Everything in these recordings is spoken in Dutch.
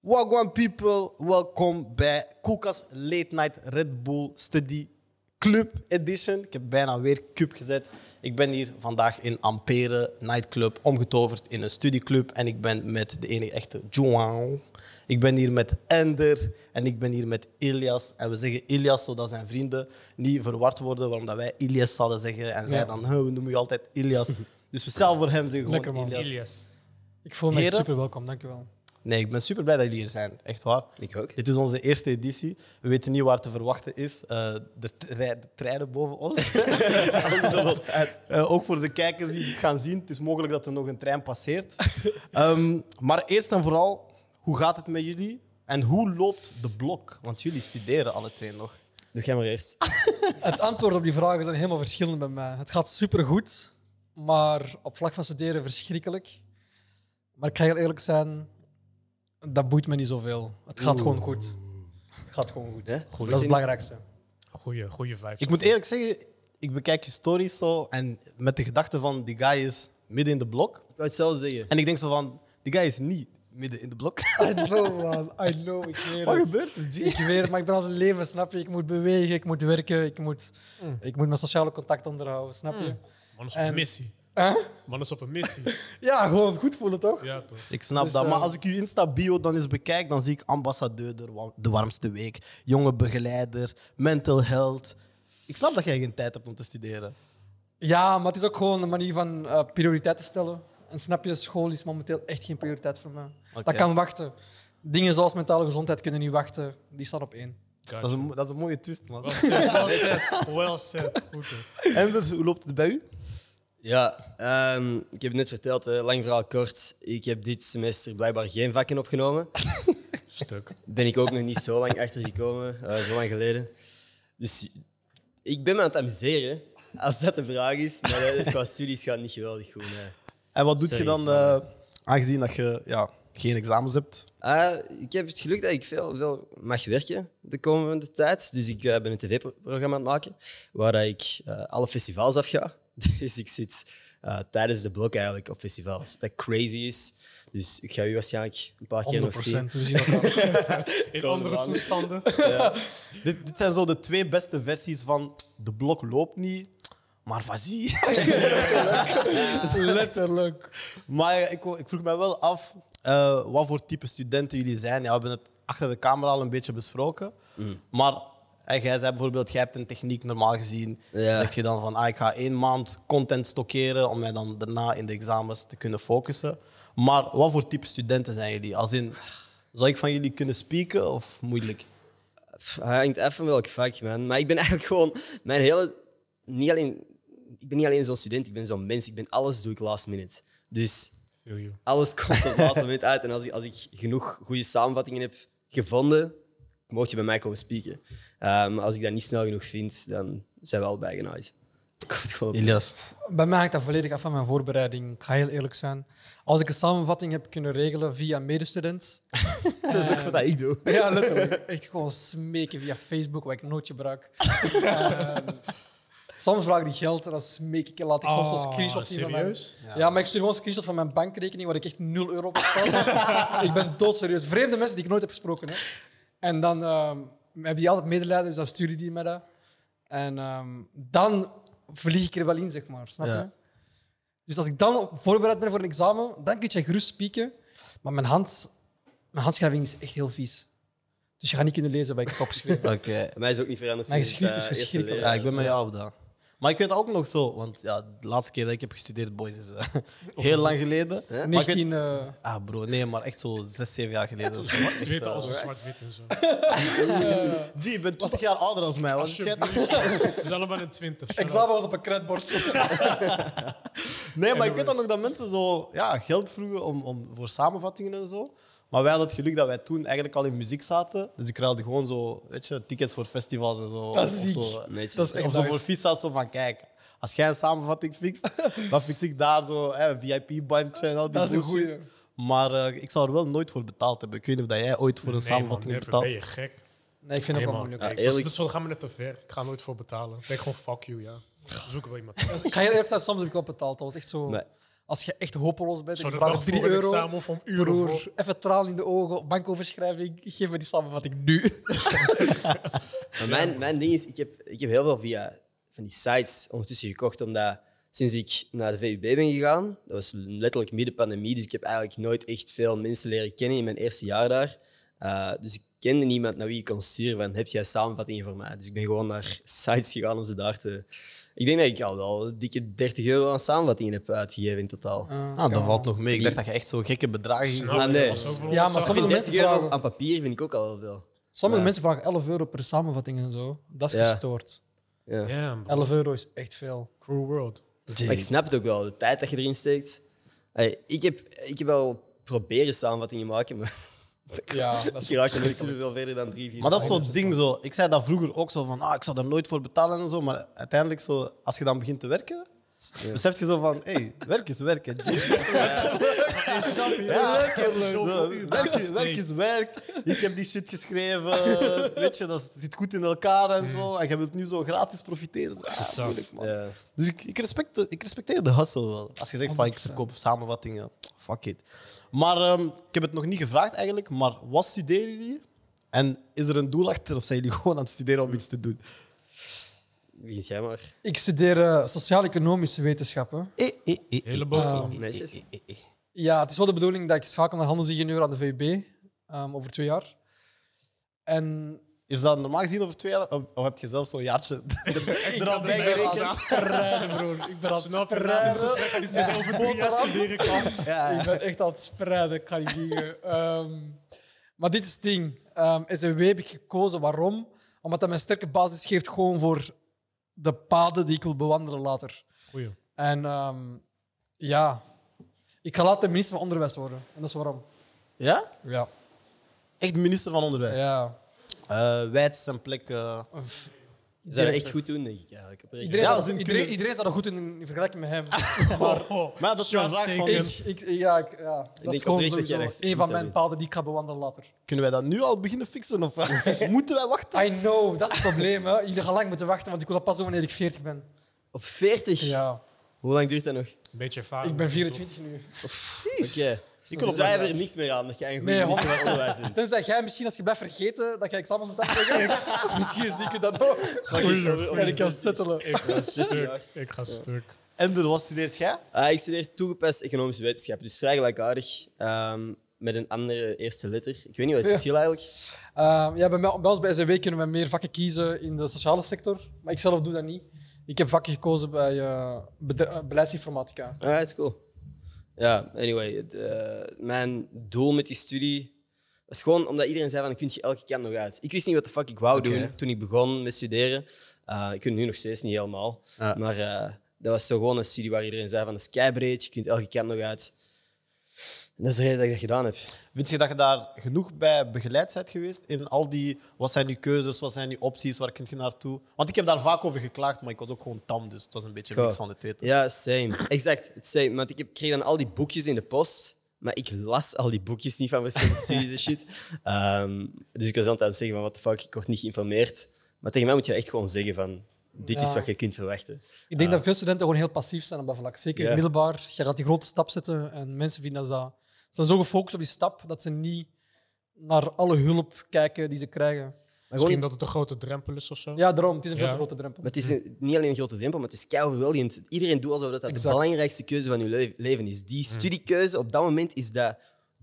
Wagwan people, welkom bij Koekas Late Night Red Bull Study Club Edition. Ik heb bijna weer cube gezet. Ik ben hier vandaag in Ampere Nightclub, omgetoverd in een studieclub. En ik ben met de enige echte João. Ik ben hier met Ender en ik ben hier met Ilias. En we zeggen Ilias zodat zijn vrienden niet verward worden waarom dat wij Ilias zouden zeggen. En zij Ja. dan, "Huh, we noemen je altijd Ilias. Dus speciaal voor hem zeggen we Lekker, gewoon man. Ilias. Ilias. Ik voel me echt Heren? super welkom, dankjewel. Nee, ik ben super blij dat jullie hier zijn. Echt waar. Ik ook. Dit is onze eerste editie. We weten niet waar te verwachten is. Eh er t- rij- de treinen boven ons. Om zoveel tijd. Eh, ook voor de kijkers die het gaan zien. Het is mogelijk dat er nog een trein passeert. Ehm, maar eerst en vooral, hoe gaat het met jullie? En hoe loopt de blok? Want jullie studeren alle twee nog. Doe jij maar eerst. Het antwoord op die vragen zijn helemaal verschillend bij mij. Het gaat supergoed, maar op vlak van studeren verschrikkelijk. Maar ik ga heel eerlijk zijn, dat boeit me niet zoveel. Het gaat gewoon goed. Het gaat gewoon goed. Hè? Dat is het belangrijkste. Goeie, goeie vibes. Ik moet eerlijk zeggen, ik bekijk je stories zo. En met de gedachte van, die guy is midden in de blok. Ik wou hetzelfde zeggen. En ik denk zo van, die guy is niet midden in de blok. I know, man. I know. Ik weet Wat het. gebeurt er, G? Ik weet het, maar ik ben altijd leven, snap je? Ik moet bewegen, ik moet werken, ik moet, ik moet mijn sociale contact onderhouden, snap je? Man is op En- een missie. Huh? Man is op een missie. Ja, gewoon goed voelen, toch? ja, toch. Ik snap Dus, dat. Maar eh, als ik uw Insta-bio dan eens bekijk, dan zie ik ambassadeur de wa- de warmste week, jonge begeleider, mental health. Ik snap dat jij geen tijd hebt om te studeren. Ja, maar het is ook gewoon een manier van eh, prioriteiten stellen. En snap je, school is momenteel echt geen prioriteit voor mij. Oké. Dat kan wachten. Dingen zoals mentale gezondheid kunnen niet wachten. Die staan op één. Gotcha. Dat is een, mo- dat is een mooie twist, man. Well said, well said. Well said. Goed, hoor. Anders, dus, hoe loopt het bij u? Ja, ehm, ik heb het net verteld, hè, lang verhaal kort. Ik heb dit semester blijkbaar geen vakken opgenomen. Stuk. Ben ik ook nog niet zo lang achtergekomen, eh, zo lang geleden. Dus ik ben me aan het amuseren, als dat de vraag is. Maar eh, qua studies gaat het niet geweldig goed. nee. En wat doet Sorry, je dan, maar- eh, aangezien dat je ja, geen examens hebt? Ah, ik heb het geluk dat ik veel, veel mag werken de komende tijd. Dus ik eh, ben een tv-programma aan het maken waar dat ik eh, alle festivals afga. Dus ik zit eh, tijdens de blok eigenlijk op festivals. Wat dat crazy is. Dus ik ga u waarschijnlijk een paar 100%. keer nog zien. We zien elkaar. In andere aan. toestanden. Dit, dit zijn zo de twee beste versies van de blok loopt niet, maar vas-y. Dat is letterlijk. Maar ik, wou- ik vroeg me wel af eh, wat voor type studenten jullie zijn. Ja, we hebben het achter de camera al een beetje besproken. Maar eh, jij zei bijvoorbeeld, jij hebt een techniek normaal gezien. Ja. Zeg je dan van, ah, ik ga één maand content stockeren om mij dan daarna in de examens te kunnen focussen. Maar wat voor type studenten zijn jullie? Als in, zou ik van jullie kunnen spieken of moeilijk? Pff, Hij Ah, hangt even van welk vak, man. Maar ik ben eigenlijk gewoon mijn hele. Niet alleen, ik ben niet alleen zo'n student, ik ben zo'n mens. Ik ben alles doe ik last minute. Dus Feel you. alles komt op het laatste moment uit. En als ik, als ik genoeg goede samenvattingen heb gevonden, mocht je bij mij komen spieken. Ehm, als ik dat niet snel genoeg vind, dan zijn we al bijgenaaid. Het Komt gewoon op. Ilias. Bij mij hangt dat volledig af van mijn voorbereiding. Ik ga heel eerlijk zijn. Als ik een samenvatting heb kunnen regelen via een medestudent. Dat is ook wat ik doe. Ja, letterlijk. Echt gewoon smeken via Facebook, waar ik nooit gebruik. Ehm, soms vraag ik geld en dan smeek ik en laat ik soms Ah, zo'n screenshot zien van mijn... serieus? Ja. maar ik stuur gewoon een screenshot van mijn bankrekening waar ik echt 0 euro op betaal. ik ben doodserieus. Vreemde mensen die ik nooit heb gesproken. Hè. En dan ehm heb je altijd medelijden, dus dan sturen die mij dat. En ehm, dan vlieg ik er wel in, zeg maar. Snap je? Ja. Dus als ik dan op, voorbereid ben voor een examen, dan kun je gerust spieken. Maar mijn, hand, mijn handschrijving is echt heel vies. Dus je gaat niet kunnen lezen wat ik heb opgeschreven. Oké. Bij mij is ook niet veranderd. Mijn sinds, geschrift is eh, eerste verschrikkelijk. Ja, leerjaar. ik ben met jou op dat. Maar ik weet dat ook nog zo, want ja, de laatste keer dat ik heb gestudeerd, boys, is eh, heel lang geleden. Maar ik weet- 19... eh, Ah, bro, nee, maar echt zo zes, zeven jaar geleden. of zo. Het weet al zo zwart-wit en zo. G, je bent 20 jaar ouder dan mij. Was jij Alsjeblieft. We zijn allemaal in twintig. Examen was op een kredbord. Nee, maar ik weet dan nog dat mensen zo ja, geld vroegen om, om, voor samenvattingen en zo. Maar wij hadden het geluk dat wij toen eigenlijk al in muziek zaten. Dus ik ruilde gewoon zo, weet je, tickets voor festivals en zo. Dat is Of ziek. zo. Netjes. Dat is echt Of zo nice. voor FISA, zo van kijk. Als jij een samenvatting fixt, dan fix ik daar zo hè, een VIP-bandje en al die Dat is een bullshit. goeie. Maar eh, ik zou er wel nooit voor betaald hebben. Ik weet niet of dat jij ooit voor een Nee, man, samenvatting hebt never. Ben betaald. je gek? Nee, ik vind het ook wel Helemaal. moeilijk. Ja, Dat is- eerlijk. Dus we gaan we net te ver. Ik ga nooit voor betalen. Ik denk gewoon fuck you, ja. Zoek wel iemand. Ik ga heel eerlijk zijn, soms heb ik wel betaald. Dat was echt zo... Nee. Als je echt hopeloos bent, Zo ik de vraag dag 3 voor een euro. examen of om uren voor. Broer, even traal in de ogen, bankoverschrijving. Geef me die samenvatting nu. Maar mijn, mijn ding is, ik heb, ik heb heel veel via van die sites ondertussen gekocht, omdat sinds ik naar de VUB ben gegaan, dat was letterlijk midden pandemie, dus ik heb eigenlijk nooit echt veel mensen leren kennen in mijn eerste jaar daar. Uh, dus ik kende niemand naar wie ik kon sturen van, heb jij samenvattingen voor mij? Dus ik ben gewoon naar sites gegaan om ze daar te... Ik denk dat ik al wel een dikke 30 euro aan samenvattingen heb uitgegeven in totaal. Ah, dat valt nog mee. Ik dacht dat je echt zo gekke bedragen ging. Nou, Ah, nee. dat was ook voor Ja, ons maar af. Ik vind sommige mensen 30 euro vragen, aan papier vind ik ook al wel veel. sommige Ja. mensen vragen 11 euro per samenvatting en zo. Dat is Ja. gestoord. Ja. Damn, bro. 11 euro is echt veel. Cruel world. Maar ik snap het ook wel, de tijd dat je erin steekt. Ey, ik, heb, ik heb wel proberen samenvattingen te maken, maar Ja, dat is ik raak er niet zoveel verder dan drie, vier. Maar dat is zo'n ding zo. Ik zei dat vroeger ook zo van, ah, ik zou er nooit voor betalen en zo. Maar uiteindelijk, zo, als je dan begint te werken, besef je zo van, hé, hey, werk is werk. hè, Jim. Ja, werk is Zoveel werk. Werk is, werk is werk. Ik heb die shit geschreven. Weet je, dat zit goed in elkaar en zo. En je wilt nu zo gratis profiteren. Zo, ah, zak. moeilijk, man. Ja. Dus ik, ik, respect, de- ik respecteer de hustle wel. Als je zegt van ik verkoop samenvattingen, fuck it. Maar ehm, ik heb het nog niet gevraagd eigenlijk, maar wat studeren jullie? En is er een doel achter of zijn jullie gewoon aan het studeren om iets te doen? Begint jij maar. Ik studeer eh, sociaal-economische wetenschappen. Eh, eh, eh, Hele eh, boterham. Ah. Netjes. eh, eh, eh. Ja, het is wel de bedoeling dat ik schakel naar handelsingenieur aan de VUB ehm, over twee jaar. En Is dat normaal gezien over twee jaar? Of, of heb je zelf zo'n jaartje er al bij gerekend? spreiden, broer. Ik ben aan het Snap je na dit gesprek dat je zegt over drie jaar studeren kan? Ja, ja. Ik ben echt aan het spreiden, ik ga niet liegen. Ehm, maar dit is het ding. Ehm SNW heb ik gekozen. Waarom? Omdat dat mijn sterke basis geeft gewoon voor de paden die ik wil bewandelen later. Goeie. En ehm, ja, ik ga later minister van Onderwijs worden. En dat is waarom. Ja? Ja. Echt minister van Onderwijs. Eh ja. wijds en plekken. Of- Je zou dat Direct. echt goed doen, denk ik eigenlijk. oprecht. Iedereen, Ja, staat dat is een iedereen, killer. iedereen staat er goed in, in vergelijking met hem. Maar dat is wel een vraag van- ik, ik, ja, ik, ja, dat is denk gewoon oprecht dat jij sowieso rechts- een links van zou mijn doen. paden die ik ga bewandelen later. Kunnen wij dat nu al beginnen fixen? Of moeten wij wachten? I know, dat is het probleem. Hè. Jullie gaan lang moeten wachten, want ik wil dat pas doen wanneer ik 40 ben. Op 40? Ja, Hoe lang duurt dat nog? Een beetje ervaring. ik ben 24 nu. Oké. Ik wil zij Dus er niks meer aan dat jij een goede Nee, minister van onderwijs bent. Tenzij Dus jij misschien, als je blijft vergeten dat jij examens moet afleggen, misschien zie ik je dat ook. Kan ik jou settelen. Ik ga stuk. Ik ga stuk. Ender, wat studeert jij? Ah, ik studeer toegepast economische wetenschappen, dus vrij gelijkaardig. ehm, met een andere eerste letter. Ik weet niet wat is het verschil eigenlijk. Ehm, ja, bij, mij- bij ons bij SW kunnen we meer vakken kiezen in de sociale sector, maar ik zelf doe dat niet. Ik heb vakken gekozen bij eh, bedra- eh, beleidsinformatica. Alright, cool. Ja, anyway. het, eh, mijn doel met die studie was gewoon omdat iedereen zei van, kun je elke kant nog uit. Ik wist niet wat de fuck ik wou doen toen ik begon met studeren. Eh, ik weet het nu nog steeds niet helemaal. Ja. Maar eh, dat was zo gewoon een studie waar iedereen zei van, dat is keibreed, je kunt elke kant nog uit. En dat is de reden dat ik dat gedaan heb. Vind je dat je daar genoeg bij begeleid bent geweest? In al die, wat zijn je keuzes, wat zijn je opties, waar kun je naartoe? Want ik heb daar vaak over geklaagd, maar ik was ook gewoon tam, dus het was een beetje een mix van de twee. toch? Ja, same. Exact, het same. Want ik heb, kreeg dan al die boekjes in de post, maar ik las al die boekjes niet van verschillende studies en shit. Ehm, dus ik was altijd aan het zeggen van, what the fuck, ik word niet geïnformeerd. Maar tegen mij moet je echt gewoon zeggen van, dit is Ja. wat je kunt verwachten. Ik denk dat veel studenten gewoon heel passief zijn op dat vlak. Zeker Ja. in het middelbaar. Je gaat die grote stap zetten en mensen vinden dat ze, ze zijn zo gefocust op die stap dat ze niet naar alle hulp kijken die ze krijgen. Maar gewoon, Misschien dat het een grote drempel is of zo. Ja, daarom. Het is een veel Ja. te grote drempel. maar het is een- niet alleen een grote drempel, maar het is keioverweldigend. Iedereen doet alsof dat, dat de Exact. Hmm. belangrijkste keuze van je le- leven is. Die studiekeuze op dat moment is dat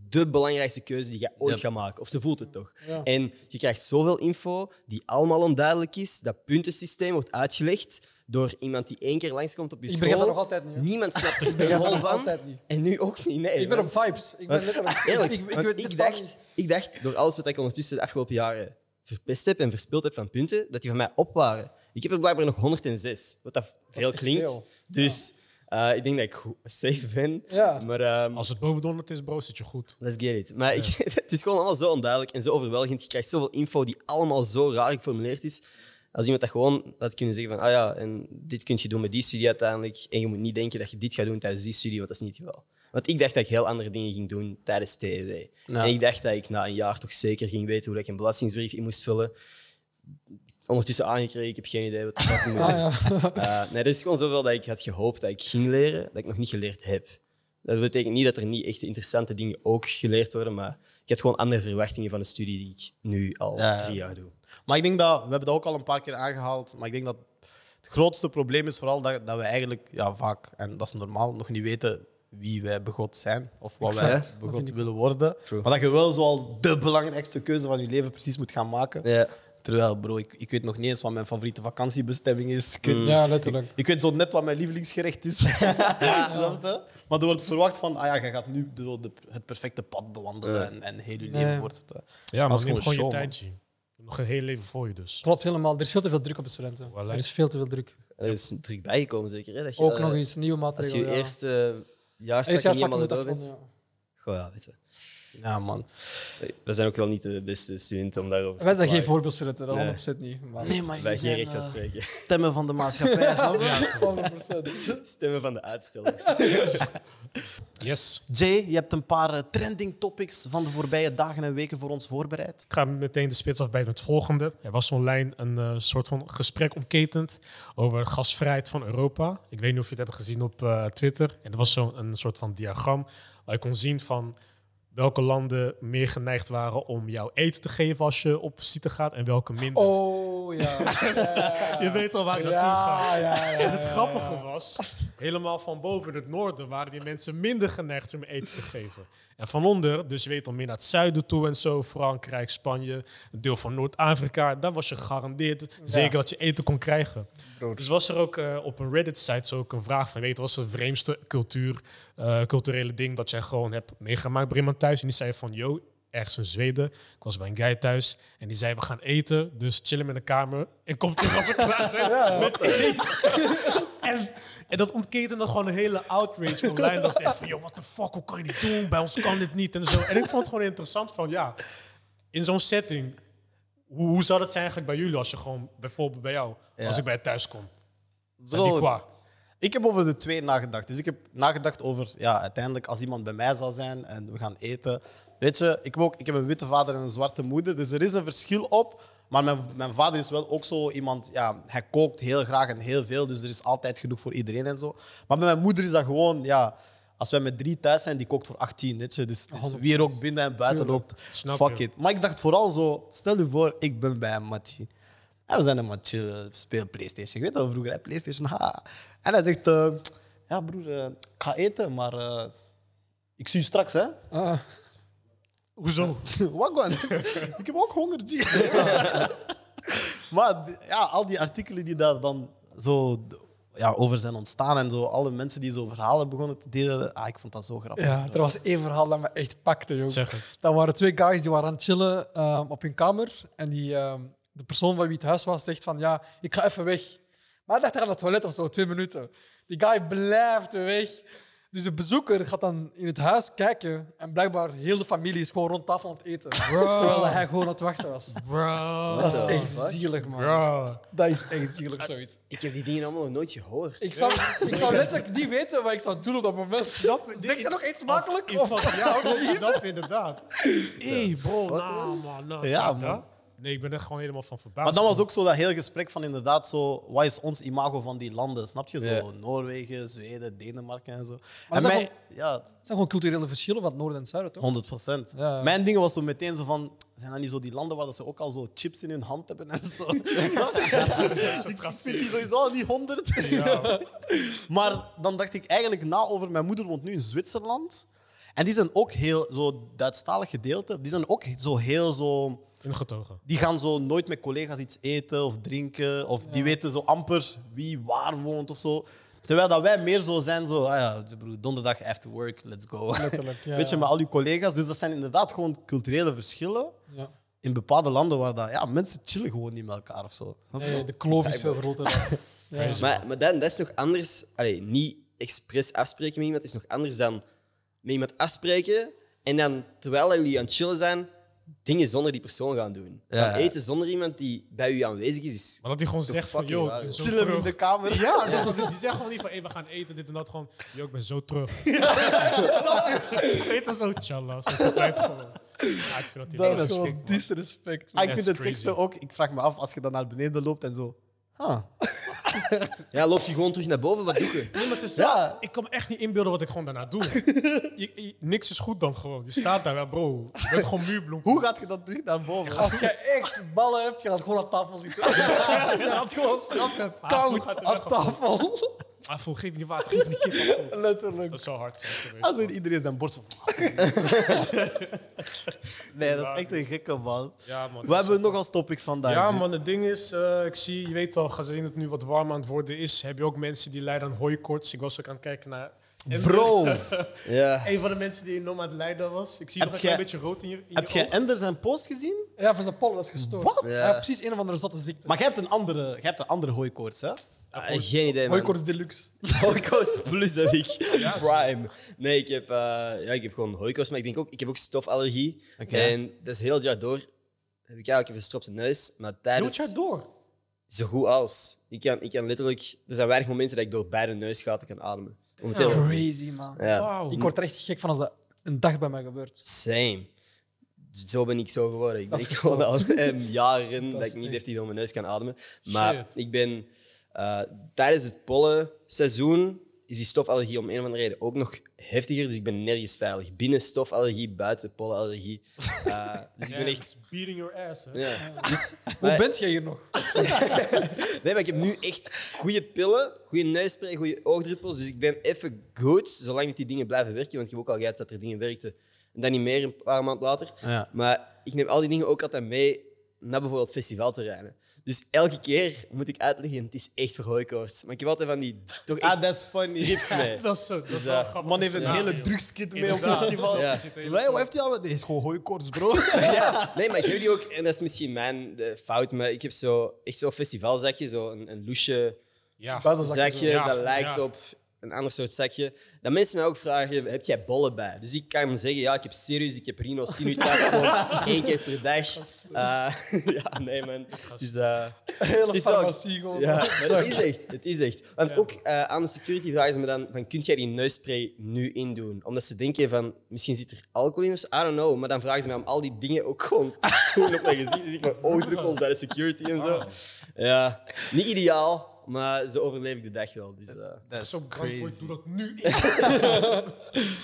de belangrijkste keuze die je ooit gaat maken. Of ze voelt het toch. Ja. En je krijgt zoveel info die allemaal onduidelijk is. Dat puntensysteem wordt uitgelegd door iemand die één keer langskomt op je Ik school. begrijp dat nog altijd niet, hoor. Niemand snapt er begrijp dat een nog van. altijd niet. En nu ook niet, nee. Ik ben man. op vibes. Ik ben letterlijk... Ah, Eerlijk, ik, ik, want weet ik, totaal dacht, niet. ik dacht, door alles wat ik ondertussen de afgelopen jaren verpest heb en verspild heb van punten, dat die van mij op waren. Ik heb er blijkbaar nog 106, wat dat veel echt klinkt. veel. Dus eh, ik denk dat ik goed, safe ben. Ja. Maar ehm, Als het boven de 100 is, bro, zit je goed. let's get it. Maar ik, het is gewoon allemaal zo onduidelijk en zo overweldigend. Je krijgt zoveel info die allemaal zo raar geformuleerd is. Als iemand dat gewoon had kunnen zeggen van, ah ja, en dit kun je doen met die studie uiteindelijk. En je moet niet denken dat je dit gaat doen tijdens die studie, want dat is niet wel. Want ik dacht dat ik heel andere dingen ging doen tijdens TEW. Ja. En ik dacht dat ik na een jaar toch zeker ging weten hoe ik een belastingsbrief in moest vullen. Ondertussen aangekregen, ik heb geen idee wat de fuck ik moet doen. Ah, ja. Eh, nee, er is gewoon zoveel dat ik had gehoopt dat ik ging leren, dat ik nog niet geleerd heb. Dat betekent niet dat er niet echt interessante dingen ook geleerd worden, maar ik had gewoon andere verwachtingen van de studie die ik nu al Ja, ja. drie jaar doe. Maar ik denk dat, we hebben dat ook al een paar keer aangehaald, maar ik denk dat het grootste probleem is vooral dat, dat we eigenlijk ja, vaak, en dat is normaal, nog niet weten wie wij begot zijn of wat Exact. wij begot willen worden. True. Maar dat je wel zoal de belangrijkste keuze van je leven precies moet gaan maken. Ja. Terwijl, bro, ik, ik weet nog niet eens wat mijn favoriete vakantiebestemming is. Ik weet, Mm. Ja, letterlijk. ik weet zo net wat mijn lievelingsgerecht is. Snap je? Maar er wordt verwacht van, ah ja, je gaat nu zo de, het perfecte pad bewandelen en, en heel je leven Nee. wordt het. eh, Ja, maar Dat is neem gewoon gewoon je show, tijd, G. Je hebt Nog een heel leven voor je dus. Klopt helemaal. Er is veel te veel druk op de studenten. Voilà. Er is veel te veel druk. Er is druk bijgekomen zeker. Hè? Dat je, Ook eh, nog eens nieuwe Als je maatregelen. je ja. eerste jaar Eerst niet jaar helemaal moet door bent. afronden, ja. Goh, ja, weet je. Ja, man. We zijn ook wel niet de beste studenten om daarover Wij te zijn geen klagen. voorbeeldstudenten, dat Nee. 100% niet. Maar Nee, maar Wij je geen zijn recht aan eh, spreken. stemmen van de maatschappij, snap je? 100%. Stemmen van de uitstellers. Yes. Jay, je hebt een paar eh, trending topics van de voorbije dagen en weken voor ons voorbereid. Ik ga meteen de spits afbijten met het volgende. Er was online een eh, soort van gesprek ontketend over gasvrijheid van Europa. Ik weet niet of je het hebt gezien op eh, Twitter. En er was zo'n een soort van diagram waar je kon zien van welke landen meer geneigd waren om jou eten te geven als je op visite gaat en welke minder. Oh ja. Ja. Je weet al waar ik ja, naartoe ga. ja, ja, ja, En het ja. grappige was, helemaal van boven in het noorden waren die mensen minder geneigd om eten te geven. En van onder, dus je weet al meer naar het zuiden toe en zo, Frankrijk, Spanje, een deel van Noord-Afrika, daar was je gegarandeerd zeker dat je eten kon krijgen. Dus was er ook eh, op een Reddit-site ook een vraag van, weet je, wat is het vreemdste cultuur, eh, culturele ding dat jij gewoon hebt meegemaakt bij iemand thuis? En die zei van, yo, ergens in Zweden, ik was bij een guy thuis en die zei, we gaan eten, dus chillen in de kamer en kom terug als we klaar zijn met eten. En, en dat ontketende gewoon een hele outrage online. Dat ze echt van, joh, what the fuck, hoe kan je dit doen? Bij ons kan dit niet en zo. En ik vond het gewoon interessant van, ja, in zo'n setting, hoe, hoe zou dat zijn eigenlijk bij jullie als je gewoon, bijvoorbeeld bij jou, als ik bij je thuis kom? Zijn die Bro, qua? Ik heb over de twee nagedacht. Dus ik heb nagedacht over, ja, uiteindelijk als iemand bij mij zal zijn en we gaan eten. Weet je, ik heb, ook, ik heb een witte vader en een zwarte moeder, dus er is een verschil op. Maar mijn, mijn vader is wel ook zo iemand, ja, hij kookt heel graag en heel veel, dus er is altijd genoeg voor iedereen en zo. Maar bij mijn moeder is dat gewoon, ja, als wij met drie thuis zijn, die kookt voor 18, weet je. Dus, het is wie er ook binnen en buiten loopt, Snap fuck je. it. Maar ik dacht vooral zo, stel je voor, ik ben bij een matje. En we zijn hem aan het chillen, speel PlayStation. Ik weet wel vroeger, hè, PlayStation. Ha. En hij zegt: eh, Ja, broer, eh, ik ga eten, maar eh, ik zie je straks, hè? Ah, Hoezo? Wat gewoon? ik heb ook honger, G. maar d- ja, al die artikelen die daar dan zo d- ja, over zijn ontstaan en zo, alle mensen die zo verhalen begonnen te delen, ah, ik vond dat zo grappig. ja, er was één verhaal dat me echt pakte, joh. Zeg het. Dat waren twee guys die waren aan het chillen ehm, op hun kamer. En die, ehm, de persoon van wie het huis was zegt van ja, ik ga even weg. Maar hij dacht hij gaat naar het toilet of zo, twee minuten. Die guy blijft weg. Dus de bezoeker gaat dan in het huis kijken. En blijkbaar heel de familie is gewoon rond tafel aan het eten. Terwijl hij gewoon aan het wachten was. Bro. Dat is the echt fuck? zielig, man. Bro. Dat is echt zielig, zoiets. ik heb die dingen allemaal nog nooit gehoord. Ik zou, ik zou letterlijk niet weten wat ik zou doen op dat moment. Snap, zeg je nog iets makkelijk? Ik Of, vond- Ja, ik snap je inderdaad. Hé, bro, nou man. nou, Ja, kijk, man. hè. Nee, ik ben er gewoon helemaal van verbaasd. Maar dan was ook zo dat heel gesprek van inderdaad zo, wat is ons imago van die landen, snap je? Zo Ja. Noorwegen, Zweden, Denemarken en zo. Maar en dat is mij, ja, Het zijn gewoon culturele verschillen van het noorden en het zuiden, toch? 100 procent. Ja. Mijn ding was zo meteen zo van, zijn dat niet zo die landen waar dat ze ook al zo chips in hun hand hebben en zo? Ik Vind die sowieso al niet 100? Maar dan dacht ik eigenlijk na over mijn moeder woont nu in Zwitserland. En die zijn ook heel, zo Duitsstalig gedeelte, die zijn ook zo heel zo... Ingetogen. Die gaan zo nooit met collega's iets eten of drinken. Of die weten zo amper wie waar woont of zo. Terwijl dat wij meer zo zijn, zo, ah ja, broer, donderdag after work, let's go. Letterlijk, ja, Weet je, ja. met al je collega's. Dus dat zijn inderdaad gewoon culturele verschillen Ja. in bepaalde landen waar dat, ja, mensen chillen gewoon niet met elkaar of zo. Snap je? Nee, de kloof is veel groter. Ja. Maar, maar dan, dat is nog anders. Allee, niet expres afspreken met iemand is nog anders dan met iemand afspreken en dan terwijl jullie aan het chillen zijn, dingen zonder die persoon gaan doen. Ja. Dan eten zonder iemand die bij u aanwezig is. is Maar dat hij gewoon zegt van, fucking joh, waar, ik ben joh. zo Chillen in terug. de kamer. Ja, zo van, die zeggen gewoon niet van, hey, we gaan eten, dit en dat. Gewoon, yo, ik ben zo terug. eten zo, tjallas. Ik vind het gewoon. Ja, ik vind dat die Dat is is gewoon gewoon disrespect, Ah, ik That's vind het crazy. teksten ook, ik vraag me af als je dan naar beneden loopt en zo. Huh. Ja, loop je gewoon terug naar boven, wat doe je? Nee, maar ze Ja. zei- Ik kan me echt niet inbeelden wat ik gewoon daarna doe. Je- je- niks is goed dan gewoon. Je staat daar, ja, bro. Je bent gewoon muurbloem. Hoe gaat je dan terug naar boven? Als je echt ballen hebt, je gaat gewoon aan tafel zitten. je gaat gewoon snappen. goed, Koud gaat er weg, aan of tafel. Ah, voel, geef niet water, geef niet kip. Ah, voel. Letterlijk. Dat zou hard zijn geweest. Als in iedereen zijn borst. nee, dat is echt een gekke man. Ja, man. We hebben nog als topics vandaag. Ja, Jim. man, het ding is, eh, ik zie, je weet al, gezien het nu wat warm aan het worden is, heb je ook mensen die lijden aan hooikoorts. Ik was ook aan het kijken naar... Bro, Ja. Een van de mensen die enorm aan het lijden was. Ik zie Heb nog een klein jij- beetje rood in je, in heb je jij oog. Ender zijn post gezien? Ja, van zijn pollen, dat is gestoord. Wat? Ja. Ja, precies een of andere zotte ziekte. Maar jij hebt een andere, jij hebt een andere hooikoorts, hè? Ah, geen idee, man. Hooikoorts deluxe. Hooikoorts plus heb ik. Prime. Nee, ik heb, eh, ja, ik heb gewoon hooikoorts, maar ik denk ook, ik heb ook stofallergie. En dat is heel het jaar door. Heb ik eigenlijk een verstopte neus, maar Doe het tijdens... jaar door. Zo goed als. Ik kan, ik kan letterlijk... Er zijn weinig momenten dat ik door beide neusgaten kan ademen. Momenteel. Crazy, man. Ja. Wauw. Ik word er echt gek van als dat een dag bij mij gebeurt. Same. Zo ben ik zo geworden. Ik Dat denk is gewoon al eh, jaren Dat is dat, ik niet echt. heftig door mijn neus kan ademen. Maar Shit. ik ben... eh, tijdens het pollenseizoen is die stofallergie om een of andere reden ook nog heftiger. Dus ik ben nergens veilig. Binnen stofallergie, buiten pollenallergie. Eh, dus ik ben Ja, echt... it's beating your ass, hè. Ja. Dus- Hoe maar- bent jij hier nog? Nee, maar ik heb nu echt goede pillen, goede neusspray, goede oogdruppels. Dus ik ben even goed, zolang dat die dingen blijven werken. Want ik heb ook al gehad dat er dingen werkten. En dan niet meer een paar maanden later. Ja. Maar ik neem al die dingen ook altijd mee naar bijvoorbeeld festivalterreinen. Dus elke keer moet ik uitleggen, het is echt verhooikoorts. Maar ik heb altijd van die toch echt Ah, that's funny. strips mee. Dat is zo. Dat is eh, wel grappig. Man heeft een hele drugskit mee op Inderdaad. festival. Ja. Ja. Hoe heeft hij al? Dit is gewoon hooikoorts, bro. Ja, nee, maar ik heb die ook, en dat is misschien mijn eh, fout, maar ik heb zo, echt zo'n festivalzakje, zo'n een loesje Ja. Een Buitenzakje. zakje Ja, dat lijkt ja. op een ander soort zakje. Dat mensen mij ook vragen, heb jij bollen bij? Dus ik kan zeggen, ja, ik heb serieus, ik heb rhinocinutaat gewoon één keer per dag. Eh, ja, nee man. Dus, eh, het Hele is wel- farmacie gewoon. ja, maar het is echt. Het is echt. Want ook eh, aan de security vragen ze me dan, van, kun jij die neusspray nu indoen? Omdat ze denken van, misschien zit er alcohol in of zo. I don't know. Maar dan vragen ze mij om al die dingen ook gewoon te doen op mijn gezicht. Dus ik heb oogdruppels bij de security en zo. Ja, niet ideaal, maar zo overleef ik de dag wel. Dus, eh, That's Zo'n brandpoort, doe dat nu.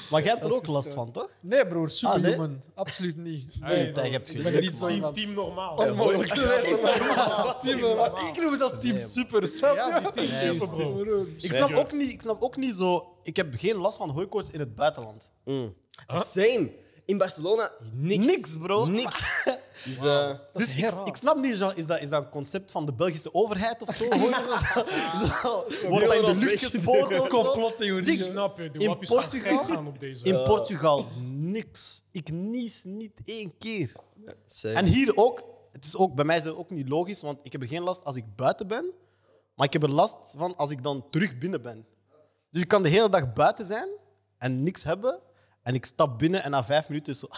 Maar jij hebt er Dat is ook last van, gestoord. toch? Nee, broer, superhuman. Ah, Absoluut niet. Nee, Nee, dat- je hebt ik geluk. ben niet zo Team, iemand. team normaal. Onmogelijk. Team, normaal. eh, Ik noem het als team Nee. super, snap Ja, die je? team Nee, super, bro. Broer. Ik snap, ook niet, ik snap ook niet zo... Ik heb geen last van hooikoorts in het buitenland. Ah. Same. In Barcelona, niks. Niks, bro. Niks. Dus, eh, Dat Dus is ik, heel raar. ik snap niet, Jean, is dat, is dat een concept van de Belgische overheid of zo? Hooikoorts? Zo, Wordt dat in de lucht gespoten of zo? Complottheorie. Ik hè. snap je. De In wappies gaan Portugal- gek gaan op deze. In Portugal niks. Ik nies niet één keer. same. En hier ook, het is ook, bij mij is het ook niet logisch, want ik heb er geen last als ik buiten ben, maar ik heb er last van als ik dan terug binnen ben. Dus ik kan de hele dag buiten zijn en niks hebben, en ik stap binnen en na vijf minuten is zo. ah,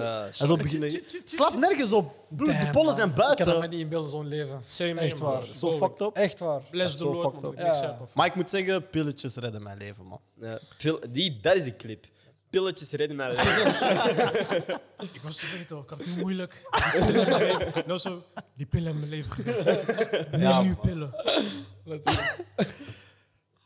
Ja, en zo beginnen. Slaap nergens op. Broer, de Damn, pollen man. zijn Ik kan dat me buiten. niet inbeelden, zo'n leven. Same Echt here, waar. man. Zo fucked up. Echt waar. Bless the zo Lord, fucked man. up. dat ik niks Ja. heb, of- Maar ik moet zeggen, pilletjes redden mijn leven, man. Ja, eh, pil- die, dat is een clip. Pilletjes redden mijn leven. Ik was te weten, ik had het moeilijk. nou zo, die pillen hebben mijn leven gered. Neem nu pillen.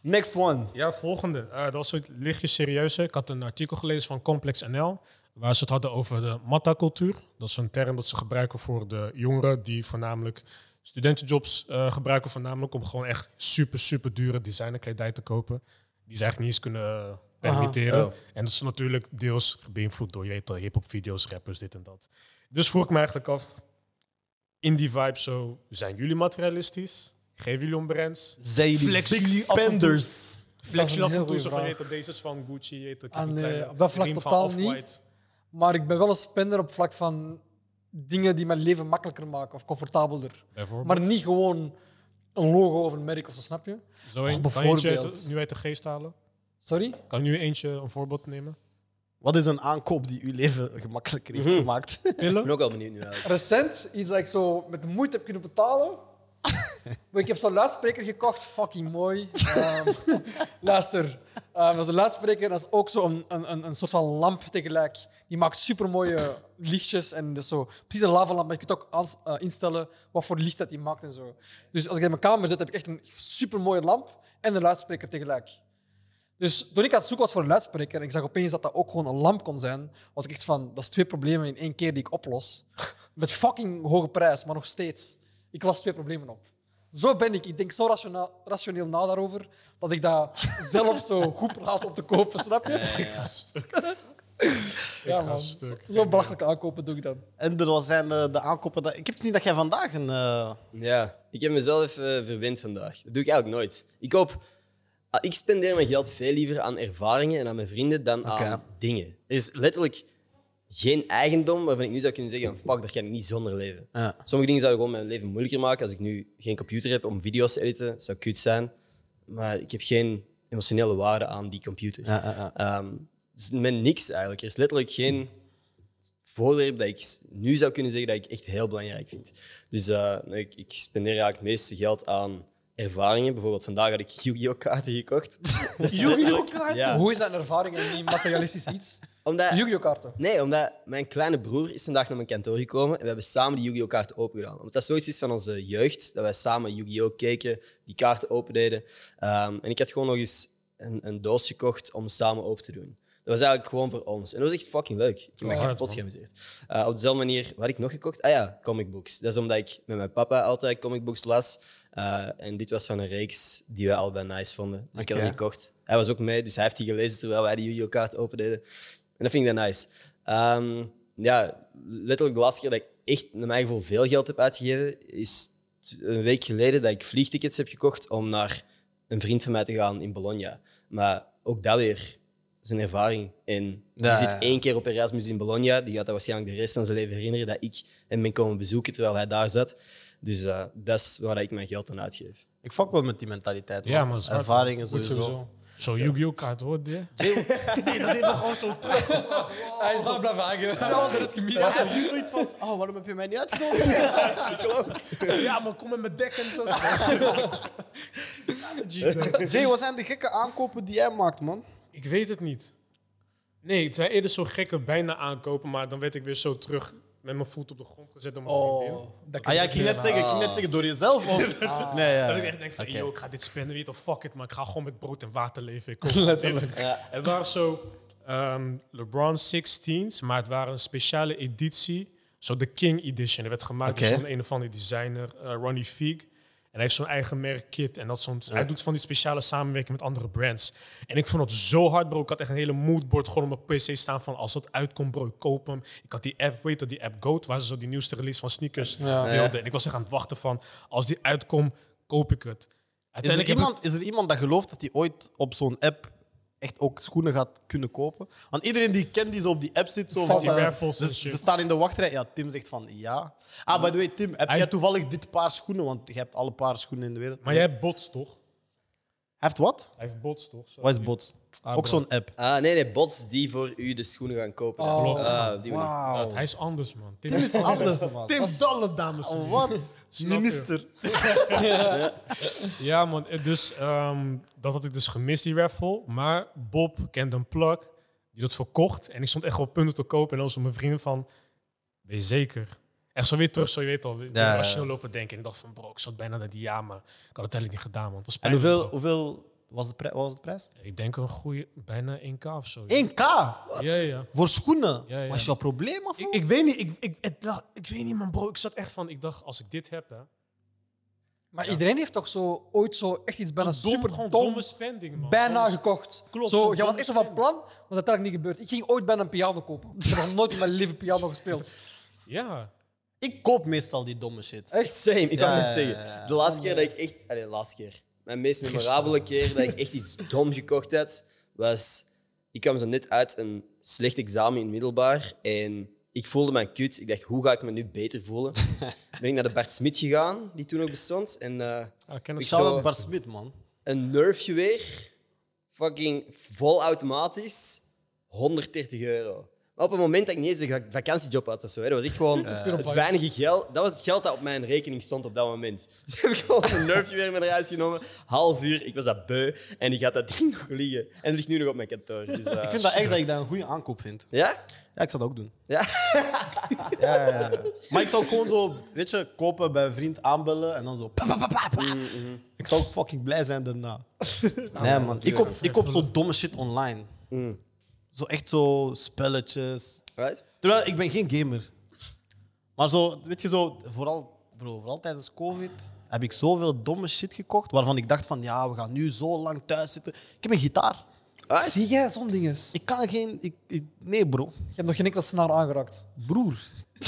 Next one. Ja, volgende. Eh, dat was het lichtje serieuzer. Ik had een artikel gelezen van Complex NL, waar ze het hadden over de mattacultuur. Dat is een term dat ze gebruiken voor de jongeren die voornamelijk studentenjobs eh, gebruiken, voornamelijk om gewoon echt super, super dure designerkledij te kopen, die ze eigenlijk niet eens kunnen eh, permitteren. Oh. En dat is natuurlijk deels beïnvloed door, je weet al, hip-hop video's, rappers, dit en dat. Dus vroeg ik me eigenlijk af, in die vibe zo, zijn jullie materialistisch? Geven jullie om brands? Zijn jullie Flexen big jullie af en toe? spenders? Dat Flex is je een af en toe heel goeie zo van, vraag. je weet, deze is van Gucci, je weet, ik heb Ah, die nee, kleine op dat vlak riem van totaal niet. Off-White. Maar ik ben wel een spender op vlak van dingen die mijn leven makkelijker maken of comfortabeler. Bijvoorbeeld. Maar niet gewoon een logo of een merk of zo, snap je? Zo een, Och, kan je eentje uit- Oh, bijvoorbeeld. nu uit de geest halen? Sorry? Kan je nu eentje een voorbeeld nemen? Wat is een aankoop die uw leven gemakkelijker heeft gemaakt? Ik Pillen? ben ook wel benieuwd nu eigenlijk. Recent, iets dat ik zo met moeite heb kunnen betalen. Maar ik heb zo'n luidspreker gekocht, fucking mooi. Ehm, luister, ehm, dat is een luidspreker, dat is ook zo'n een, een, een soort van lamp tegelijk. Die maakt supermooie lichtjes en dat is zo. Precies een lavalamp, maar je kunt ook aans- eh, instellen wat voor licht dat die maakt en zo. Dus als ik dat in mijn kamer zet, heb ik echt een supermooie lamp en een luidspreker tegelijk. Dus toen ik aan het zoeken was voor een luidspreker en ik zag opeens dat dat ook gewoon een lamp kon zijn, was ik echt van, dat is twee problemen in één keer die ik oplos. Met fucking hoge prijs, maar nog steeds. Ik las twee problemen op. Zo ben ik. Ik denk zo rationeel, rationeel na daarover, dat ik dat zelf zo goed praat om te kopen, snap je? Ik ga stuk. Ja, ik ga man. stuk. Zo belachelijk aankopen doe ik dan. En er was zijn eh, de aankopen. Dat... Ik heb niet dat jij vandaag een. eh, Ja, ik heb mezelf even verwend vandaag. Dat doe ik eigenlijk nooit. Ik koop... ah, Ik spendeer mijn geld veel liever aan ervaringen en aan mijn vrienden dan aan dingen. Er is letterlijk geen eigendom waarvan ik nu zou kunnen zeggen: van, fuck, daar kan ik niet zonder leven. Ja. Sommige dingen zouden gewoon mijn leven moeilijker maken. Als ik nu geen computer heb om video's te editen, zou kut zijn. Maar ik heb geen emotionele waarde aan die computer. Ja, ja, ja. Ehm, dus met niks eigenlijk. Er is letterlijk geen voorwerp dat ik s- nu zou kunnen zeggen dat ik echt heel belangrijk vind. Dus eh, nee, ik, ik spendeer eigenlijk het meeste geld aan ervaringen. Bijvoorbeeld vandaag had ik Yu-Gi-Oh! kaarten gekocht. Dus Yu-Gi-Oh! kaarten? Ja. Hoe is dat een ervaring en niet materialistisch iets? Omdat, Yu-Gi-Oh! kaarten. Nee, omdat mijn kleine broer is vandaag naar mijn kantoor gekomen en we hebben samen die Yu-Gi-Oh! kaart opengedaan. Omdat dat zoiets is van onze jeugd, dat wij samen Yu-Gi-Oh! keken, die kaarten opendeden. Ehm, en ik had gewoon nog eens een, een doos gekocht om samen open te doen. Dat was eigenlijk gewoon voor ons. En dat was echt fucking leuk. Ik heb me Hard, kapot man. geamuseerd. Eh, op dezelfde manier, wat had ik nog gekocht? Ah ja, comic books. Dat is omdat ik met mijn papa altijd comic books las. Eh, en dit was van een reeks die wij allebei nice vonden. Dus ik had Oké. die gekocht. Hij was ook mee, dus hij heeft die gelezen terwijl wij de Yu-Gi-Oh! kaart opendeden. En dat vind ik dan nice. Ehm, ja, letterlijk de laatste keer dat ik echt, naar mijn gevoel, veel geld heb uitgegeven, is t- een week geleden dat ik vliegtickets heb gekocht om naar een vriend van mij te gaan in Bologna. Maar ook dat weer is een ervaring. En die Ja, zit ja. één keer op Erasmus in Bologna. Die gaat dat waarschijnlijk de rest van zijn leven herinneren dat ik hem ben komen bezoeken terwijl hij daar zat. Dus eh, dat is waar ik mijn geld aan uitgeef. Ik fuck wel met die mentaliteit. Man. Ja, maar dat is hard, ervaringen Goed sowieso. sowieso. Zo'n Yu-Gi-Oh! kaart hoort je. Nee, dat heeft me gewoon zo terug. Hij is daar blijven hangen. dat is Ik gemist. heb nu zoiets van. Oh, waarom heb je mij niet uitgenodigd? Ja, maar kom met mijn dek en zo. Jay, wat zijn de gekke aankopen die jij maakt, man? Ik weet het niet. Nee, het zijn eerder zo gekke bijna aankopen, maar dan werd ik weer zo terug met mijn voet op de grond gezet door mijn Oh, vriendin. dat kan Ah ja, ik ik ging net zeggen, ik ging net zeggen door jezelf. Of... Nee, ja. Dat ik echt denk van, Ah. Oké. yo, ik ga dit spenden, weet je toch, fuck it, maar ik ga gewoon met brood en water leven. Ik kom op dit. Het waren zo ehm, LeBron 16's, maar het waren een speciale editie, zo de King Edition. Dat werd gemaakt Oké. door zo'n een of andere designer, eh, Ronnie Fieg. En hij heeft zo'n eigen merk kit. En dat soms, hij doet van die speciale samenwerking met andere brands. En ik vond dat zo hard, bro. Ik had echt een hele moodboard gewoon op mijn PC staan van als dat uitkomt, bro, ik koop hem. Ik had die app, weet je, die app Goat, waar ze zo die nieuwste release van sneakers Ja. deelden. En ik was echt aan het wachten van als die uitkomt, koop ik het. Is er, Uiteindelijk heb ik- iemand, is er iemand dat gelooft dat hij ooit op zo'n app echt ook schoenen gaat kunnen kopen? Want iedereen die ik ken die zo op die app zit, zo Van van, die eh, raffles en ze, shit. ze staan in de wachtrij. Ja, Tim zegt van ja. Ah, by the way, Tim, heb Hij- jij toevallig dit paar schoenen? Want je hebt alle paar schoenen in de wereld. Maar Nee. jij hebt bots toch? Hij heeft wat? Hij heeft bots toch? Zo. Wat is bots? Ah, ook bro. zo'n app. Ah, nee, nee, bots die voor u de schoenen gaan kopen. Oh, Ah, op die manier. Wauw. Hij is anders, man. Tim, Tim is anders, man. Tim Dalle, dames en heren. Wat? Snap je? Minister. Ja, man. eh, Dus ehm, dat had ik dus gemist, die raffle. Maar Bob kende een plug die dat verkocht. En ik stond echt op punten te kopen. En dan was mijn vrienden van, wees zeker. Echt zo weer terug, zo je weet al. weer ja, ja. Rationeel lopen denken. En ik dacht van, bro, ik zat bijna naar die ja, maar ik had het eigenlijk niet gedaan, man. Het was En pijnlijk, hoeveel, bro. hoeveel was, de pri- wat was de prijs? Ik denk een goede, bijna 1k of zo. 1k Ja, ja. voor schoenen. Ja, ja. Was jouw probleem of Ik, ik weet niet, ik, ik, het lag- ik weet niet, man, bro. Ik zat echt van, ik dacht, als ik dit heb, hè. Maar iedereen heeft toch zo, ooit zo echt iets bijna Dom, super gewoon dom, domme spending, man. bijna Domme- gekocht. Klopt, Zo, zo'n jij was domme echt zo van spin. plan, maar dat is uiteindelijk niet gebeurd. Ik ging ooit bijna een piano kopen. Ik heb nog nooit in mijn leven piano gespeeld. Ja. Ik koop meestal die domme shit. Echt same, ik kan Ja, het ja, zeggen. ja, ja. De laatste keer dat ik echt... ah, nee, de laatste keer. Mijn meest memorabele keer dat ik echt iets dom gekocht had, was... Ik kwam zo net uit een slecht examen in het middelbaar en ik voelde mij kut. Ik dacht, hoe ga ik me nu beter voelen? ben ik naar de Bart Smit gegaan, die toen ook bestond. En eh, Ah, ik ken het Ik Ik zou zou- dat Bar Smit, man. een Nerf-geweer, fucking vol automatisch, 130 euro. Maar op het moment dat ik niet eens een vak- vakantiejob had of zo. Hè, dat was echt gewoon eh, Puur op het vibes. weinige geld. Dat was het geld dat op mijn rekening stond op dat moment. Dus heb ik gewoon een nerfje weer met naar huis genomen. Half uur, ik was dat beu. En ik had dat ding nog liggen. En het ligt nu nog op mijn kantoor. Dus, eh, Ik vind dat echt dat ik dat een goede aankoop vind. Ja? Ja, ik zou dat ook doen. Ja? Ja, ja, ja. Maar ik zou gewoon zo, weet je, kopen bij een vriend aanbellen en dan zo. pa, pa, pa, pa, pa. Ik zou ook fucking blij zijn daarna. Nee, man. Ik koop, ik koop zo domme shit online. Zo echt zo spelletjes. Right? Terwijl ik ben geen gamer. Maar zo, weet je zo, vooral, bro, vooral tijdens COVID heb ik zoveel domme shit gekocht waarvan ik dacht van ja, we gaan nu zo lang thuis zitten. Ik heb een gitaar. Right? Ah, Zie jij zo'n dingen? Je Ik kan geen. Ik, ik- nee, bro. hebt nog geen enkele snaar aangeraakt. Broer.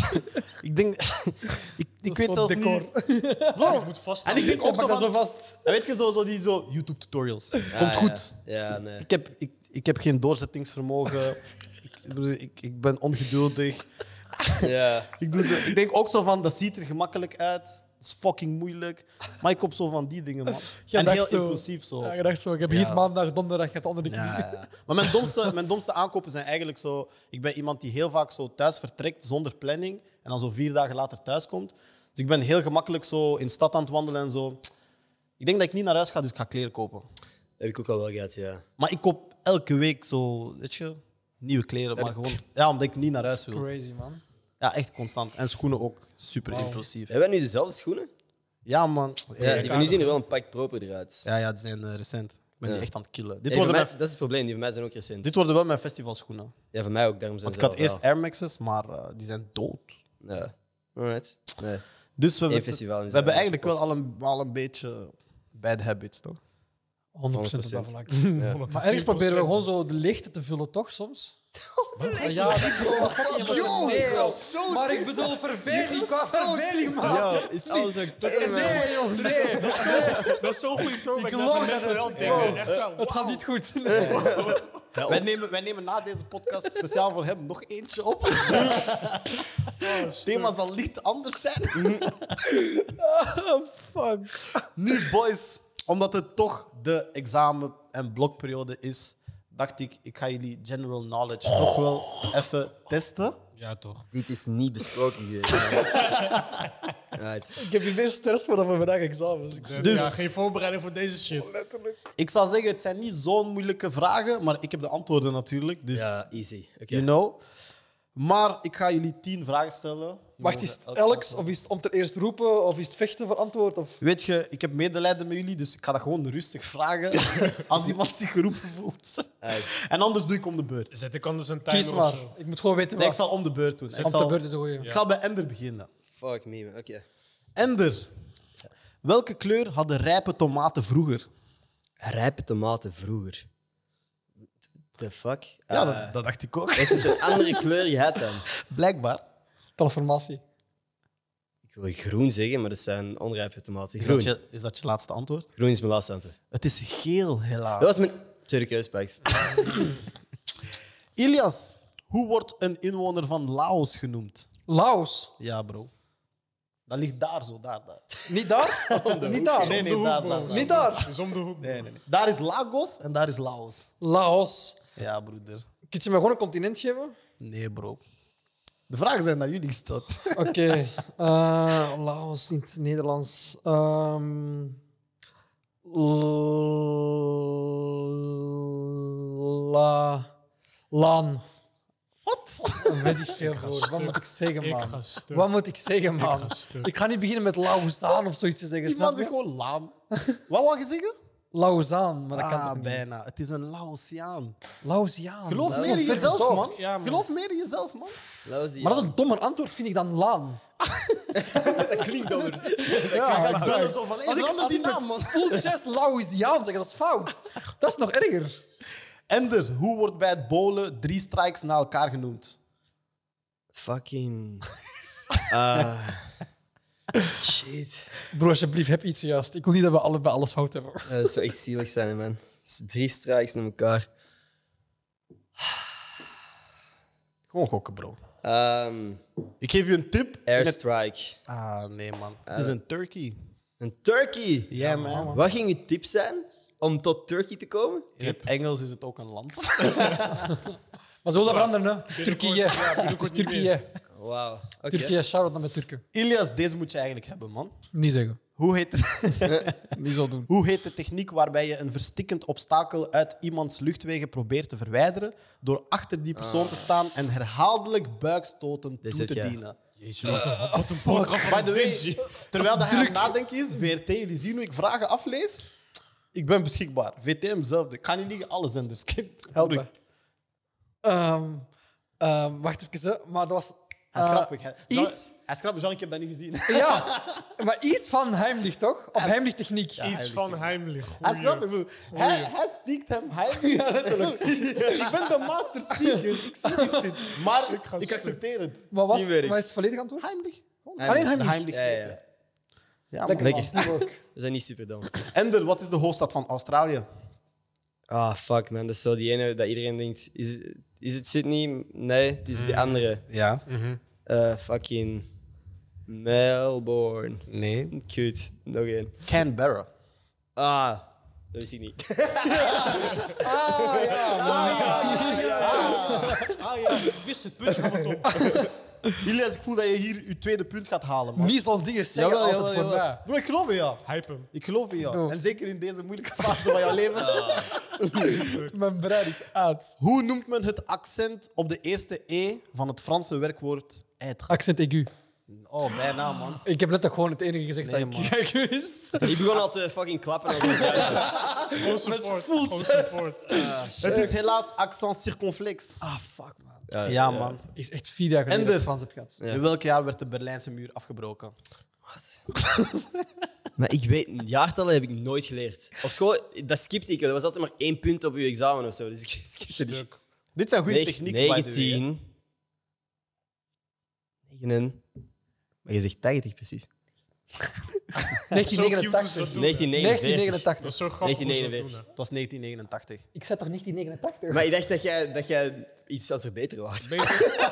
ik denk. ik ik Dat weet is zelfs gewoon decor. niet. Bro. moet En ik vasthouden. denk Ik ook zo pak dat zo van, vast. En Weet je, zo, zo die zo YouTube-tutorials. Ja, Komt Ah, ja. goed. Ja, nee. Ik heb, ik, ik heb geen doorzettingsvermogen. ik, ik, ik ben ongeduldig. Ja. Ik, doe zo- ik denk ook zo van, dat ziet er gemakkelijk uit. Dat is fucking moeilijk. Maar ik koop zo van die dingen, man. Je en dacht heel zo- impulsief zo. Ja, je dacht zo, ik heb Ja. hier maandag, donderdag, het andere knie. Ja, ja. Maar mijn domste, mijn domste aankopen zijn eigenlijk zo... Ik ben iemand die heel vaak zo thuis vertrekt zonder planning. En dan zo vier dagen later thuis komt. Dus ik ben heel gemakkelijk zo in stad aan het wandelen en zo. Ik denk dat ik niet naar huis ga, dus ik ga kleren kopen. Heb ik ook al wel gehad, ja. Maar ik koop elke week zo, weet je, nieuwe kleren. Maar gewoon, ja, omdat ik niet naar huis wil. Crazy, man. Ja, echt constant. En schoenen ook super impulsief. Hebben wij nu dezelfde schoenen? Ja, man. Ja, Ja, die van nu zien er wel een pak properder uit. ja, ja die zijn eh, recent. Ik ben die echt aan het killen. Dit Hey, voor worden, mij- mijn, dat is het probleem, die van mij zijn ook recent. dit worden wel mijn festivalschoenen. Ja, van mij ook, daarom zijn Want ik ze had wel eerst Air Max's, maar eh, die zijn dood. wel. Ja. Alright. Nee. Dus we, Eén hebben, festival in we zijn hebben eigenlijk wel al een, al een beetje bad habits, toch? 100%, op dat 100%. vlak. Omdat Maar het ergens proberen we 10% gewoon zo de leegte te vullen, toch, soms? Ja, Yo, nee, yo, joh. Maar ik bedoel verveling, qua verveling, man. is alles oké, Nee, joh, nee. Dat is zo'n goede throwback. Dat Ik is een geloof dat mental health het- ding. wow. Echt wel. Het gaat niet goed. Wij nemen, wij nemen na deze podcast speciaal voor hem nog eentje op. Het thema zal niet anders zijn. Fuck. Nu, boys, omdat het toch de examen- en blokperiode is, dacht ik, ik ga jullie general knowledge toch wel even testen. Ja, toch. Dit is niet besproken geweest. Alright. Ik heb hier meer stress voor dan voor vandaag examens. Ik Dus- ja, geen voorbereiding voor deze shit. Ik zal zeggen, het zijn niet zo'n moeilijke vragen, maar ik heb de antwoorden natuurlijk. Dus, Ja, easy. Oké. you know. Maar ik ga jullie tien vragen stellen. Wacht, is het elks of is het om te eerst roepen of is het vechten voor antwoord? Of... Weet je, ik heb medelijden met jullie, dus ik ga dat gewoon rustig vragen. als iemand zich geroepen voelt. Uit. En anders doe ik om de beurt. Zet ik anders een Kies timer of maar. zo. Ik moet gewoon weten Nee, ik waar. zal om de beurt doen. Ik Om te zal, beurt is een goeie. ik zal bij Ender beginnen. Fuck me, man. Oké. Ender, welke kleur hadden rijpe tomaten vroeger? Rijpe tomaten vroeger. The fuck? Ja, Eh, dat, dat dacht ik ook. Heeft het een andere kleur gehad dan? Blijkbaar. Transformatie. Ik wil groen zeggen, maar dat zijn onrijpe tomaten. Is dat, Groen. je, is dat je laatste antwoord? Groen is mijn laatste antwoord. Het is geel, helaas. Dat was mijn tweede keuze, Pax. Ilias, hoe wordt een inwoner van Laos genoemd? Laos. Ja, bro. Dat ligt daar zo, daar, daar. Niet daar? Niet daar. Nee, nee, is de daar, hoek, daar, bro. daar. Niet daar. Dus om de hoek. Nee, nee, nee. Daar is Lagos en daar is Laos. Laos. Ja, broeder. Kun je me gewoon een continent geven? Nee, bro. De vragen zijn naar jullie gesteld. Oké. Eh, Laos in het Nederlands. Ehm, l- la, laan. Wat? Dat weet ik veel voor. Wat stuk. moet ik zeggen, Ik man? ga stuk. Wat moet ik zeggen, man? ga stuk. Ik ga niet beginnen met Laozaan of zoiets te zeggen. Die Snap man is je? gewoon laan. Wat wou je zeggen? Laozaan, maar dat kan ah, toch niet? bijna. Het is een Laotiaan. Laoziaan. Geloof Dat is meer in wel ver jezelf, gezocht. man. Ah, Ja, man. Geloof meer in jezelf, man. Maar dat is een dommer antwoord, vind ik, dan Laan. klinkt over. Ja, Ik ben er zo van, hey, Als ik, verander als die ik naam, man. met full chest Laoziaan zeg, dat is fout. Dat is nog erger. Ender, hoe wordt bij het bowlen drie strikes na elkaar genoemd? Fucking. Ah. shit. Bro, alsjeblieft, heb iets juist. Ik wil niet dat we allebei alles fout hebben. Eh, Dat zou echt zielig zijn, man. Dus Drie strikes naar elkaar. Gewoon gokken, bro. Ehm Ik geef je een tip. airstrike. Ah, nee, man. Het is een turkey. Een turkey. Ja, man. Wat ging je tip zijn om tot turkey te komen? In het Engels is het ook een land. Maar ze wil dat veranderen, hè? Het is Turkije. ja, Het is binnenkort niet Turkije. Wauw. Oké. Turkije, shout-out naar mijn Turken. Ilias, deze moet je eigenlijk hebben, man. Niet zeggen. Hoe heet, Niet zo doen. hoe heet de techniek waarbij je een verstikkend obstakel uit iemands luchtwegen probeert te verwijderen door achter die persoon te staan en herhaaldelijk buikstoten Dit toe zit te jij. dienen? Jezus, wat een- wat een boodschap By van the Zinzi. way, terwijl dat hij aan het nadenken is, VRT, jullie zien hoe ik vragen aflees? Ik ben beschikbaar. VTM zelfde. Ik ga niet liegen, alle zenders. Kid. Help me. Ehm, ehm, wacht even, hè. maar dat was... Hij is eh, grappig. Hij, iets- Ah, Jean- hij is grappig, Jean, ik heb dat niet gezien. Ja, maar iets van heimlich, toch? Of heimlichtechniek. Ja, Iets van heimlich. Hij is Goeie. grappig. broer. Hij, hij speakt hem. Hij... letterlijk. ik ben de master speaker. Ik zie die shit. Maar ik, ga stuk. accepteer het. Maar was, Teamwerk. maar is het volledig antwoord? Heimlich. Alleen heimlich. Heimlich. Ja, ja, ja. Ja, man. Lekker. Lekker. Teamwork. We zijn niet super dom. Ender, wat is de hoofdstad van Australië? Ah, fuck man. Dat is zo die ene dat iedereen denkt. Is, is het Sydney? Nee, het is Mm. die andere. Ja. Eh, fucking Melbourne. Nee. Cute. Nog één. Canberra. Ah, dat wist ik niet. Ah, ja. Ah ja, ik wist het puntje van mijn top. Ilias, ik voel dat je hier je tweede punt gaat halen, man. Niet zo'n dingen zeggen Jawel, altijd jawel, voor jawel. mij. Bro, ik geloof in jou. Hype hem. Ik geloof in jou. Doe. En zeker in deze moeilijke fase van jouw leven. Mijn brein is uit. Hoe noemt men het accent op de eerste E van het Franse werkwoord être? Accent aigu. Oh, bijna, man. Ik heb letterlijk gewoon het enige gezegd Nee, dat ik ik wist. Ik begon al te fucking klappen. als ik het juist had. Gewoon support. Gewoon support. Het is helaas accent circonflex. Ah, fuck, man. Ja, Ja, man. Is echt vier jaar geleden En dat ik de- Frans heb gehad. Ja. In welk jaar werd de Berlijnse muur afgebroken? Maar ik weet, jaartallen heb ik nooit geleerd. Op school, dat skipte ik. Er was altijd maar één punt op je examen of zo. Dus ik skipte die. Stuk. Dit zijn goede Neg- technieken, by the way, hè. 19. 9. Maar je zegt 80 precies. Zo cute is dat. 1989. 1949. Dat is 1989. zo grappig hoe ze dat 1949. doen, hè. Het was 1989. Ik zat toch 1989? Maar ik dacht dat jij, dat jij iets aan het verbeteren was. Beter,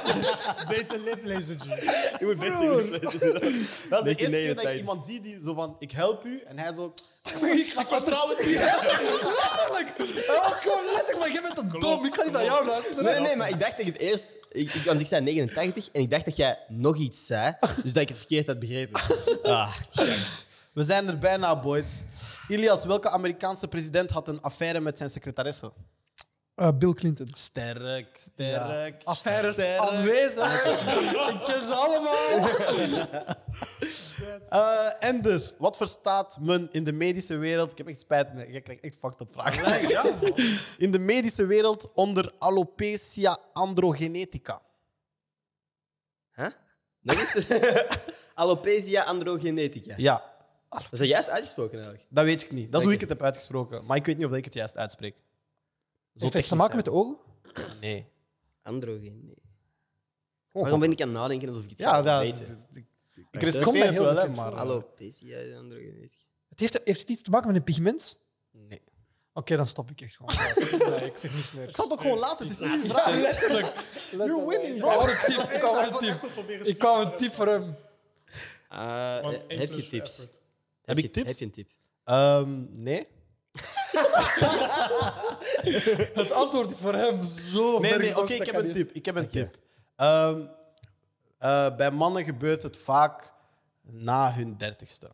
beter liplezertje. Je moet beter Dat is de eerste keer dat ik 1989. iemand zie die zo van, ik help u. En hij zo, ik ga vertrouwen niet. Letterlijk. Hij was gewoon letterlijk, maar jij bent een dom. Ik ga niet naar jou luisteren. Nee, nee, maar ik dacht dat ik het eerst... Ik, ik, want ik zei 89 en ik dacht dat jij nog iets zei. Dus dat ik het verkeerd had begrepen. Ah, we zijn er bijna, boys. Ilias, welke Amerikaanse president had een affaire met zijn secretaresse? Eh, Bill Clinton. Sterk, sterk. Affaires sterk. aanwezig. ik ken ze allemaal. Eh, en dus, wat verstaat men in de medische wereld? Ik heb echt spijt, nee, ik krijg echt fucked up Ah. vragen. in de medische wereld onder alopecia androgenetica. Huh? Dat is alopecia androgenetica. Ja, Was dat juist uitgesproken eigenlijk? dat weet ik niet. Dat is hoe Dank ik het heb uitgesproken. Maar ik weet niet of ik het juist uitspreek. Zo Heeft het technisch te maken met zijn. de ogen? Nee. Androgenetica. Oh, Waarom ben ik aan het nadenken alsof ik het Ja, zou dat, weten? ik, ik Komt respecteer het heel wel, hè, bekend maar... eh, voor. Alopecia androgenetica. Het heeft, heeft het iets te maken met een pigment? Nee. Oké, dan stop ik echt gewoon. Nee, ik zeg niks meer. Ik had het ook gewoon laten, het is niet een vraag. Letterlijk. You're winning, Ik kwam een tip. Ik kwam een tip. Ik kwam een tip voor hem. Ah, Want eh, één heb plus je tips? effort. Heb je- ik tips? Heb je een tip? Ehm, nee. Het antwoord is voor hem zo Nee, ver nee, oké, gezocht, ik dat heb kan een niet. tip. Ik heb een tip. Ehm, eh, bij mannen gebeurt het vaak na hun dertigste.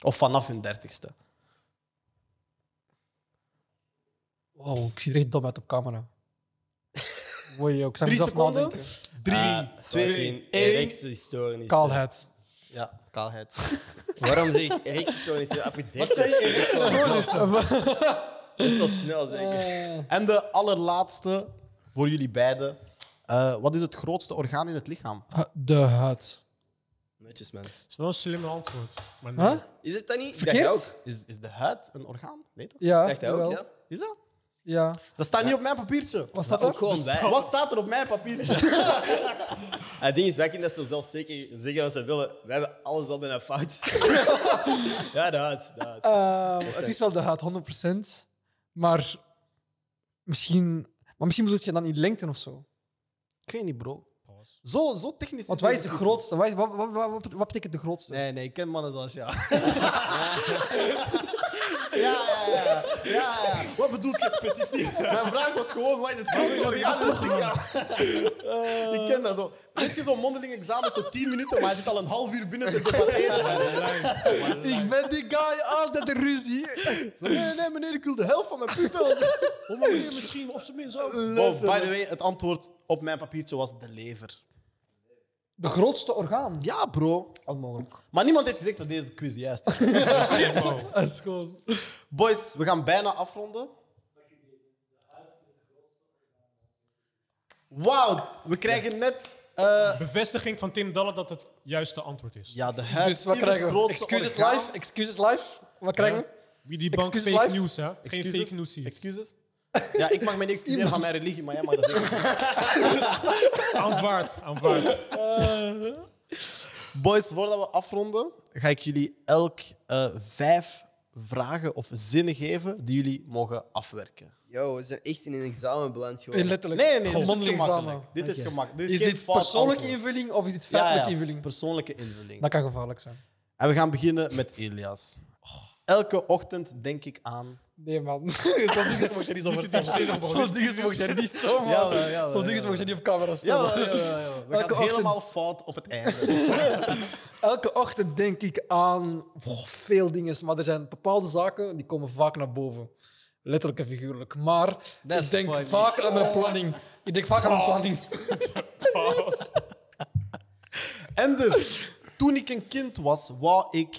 Of vanaf hun dertigste. Wow, ik zie er echt dom uit op camera. Woi, ik Drie zou mezelf seconden. nadenken. Drie, Ah, twee, fucking één. Erectiestoornis. Kaalheid. Ja, kaalheid. Waarom zeg ik erectiestoornis? Ja, Wat Best wel snel zeker. En de allerlaatste voor jullie beiden. Eh, wat is het grootste orgaan in het lichaam? De huid. Netjes man. Dat is wel een slim antwoord. Maar nee. Huh? Is het dat niet? Verkeerd? Dacht ook. Is, is de huid een orgaan? Nee toch? Ja, Dacht hij ook, jawel. ja. Is dat? Ja. Dat staat niet op mijn papiertje. Was dat Ook ook? gewoon wij. Wat staat er op mijn papiertje? Het ding is, wij kunnen dat zo zelf zeker zeggen als we willen. Wij hebben alles al bijna fout. ja, dat. dat. Ehm, het is wel de huid, 100%. Maar misschien, maar misschien bedoel je dan in lengte of zo. Ik weet niet, bro. Zo, zo technisch. Want wat is de deze grootste? Wat, is- wat, wat, wat- wat betekent de grootste? Nee, nee, ik ken mannen zoals jou. Ja, ja, ja. ja, ja. Wat bedoelt je specifiek? Mijn vraag was gewoon, wat is het grootste orgaan in het lichaam? Ik ken dat zo. Weet je, zo'n mondeling examen, zo 10 minuten, maar hij zit al een half uur binnen te debatteren. Ik ben die guy, altijd de ruzie. Nee, nee, meneer, ik wil de helft van mijn punten. Hoe moet je misschien op zijn minst ook? Wow, by the way, het antwoord op mijn papiertje was de lever. De grootste orgaan. Ja, bro. Onmogelijk. Maar niemand heeft gezegd dat deze quiz juist is. Dat is gewoon... Boys, we gaan bijna afronden. Wauw, we krijgen net. eh, Bevestiging van Tim Dallen dat het juiste antwoord is. ja, de huid Dus wat is het krijgen we? grootste Excuses orgaan. live? Excuses live? Wat krijgen we? Wie die bank Excuses fake live? news, hè? Excuses? Geen fake news hier. Excuses? Ja, ik mag me niks excuseren van mijn religie, maar jij mag dat zeggen. Aanvaard, aanvaard. Boys, voordat we afronden, ga ik jullie elk eh, vijf vragen of zinnen geven die jullie mogen afwerken. Yo, we zijn echt in een examen beland Nee, geworden. letterlijk. Nee, nee, nee, dit is Mondeling gemakkelijk. examen. Dit is Oké. gemakkelijk. Dit Is geen dit fout persoonlijke antwoord. invulling of is dit feitelijke Ja, ja, invulling? Persoonlijke invulling. Dat kan gevaarlijk zijn. En we gaan beginnen met Elias. Elke ochtend denk ik aan. Nee, man. Zo'n dingen mocht je niet zo vertellen. Zo'n dingen mocht je niet zo Jawel, jawel, Zo'n dingen jawel. mocht je niet op camera Ja, stellen. ja, ja, ja. we Elke gaan ochtend. helemaal fout op het einde. Elke ochtend denk ik aan oh, veel dingen, maar er zijn bepaalde zaken die komen vaak naar boven. Letterlijk en figuurlijk. Maar ik funny. denk Oh. vaak aan mijn planning. Ik denk vaak aan mijn planning. Pas. En dus, toen ik een kind was, wou ik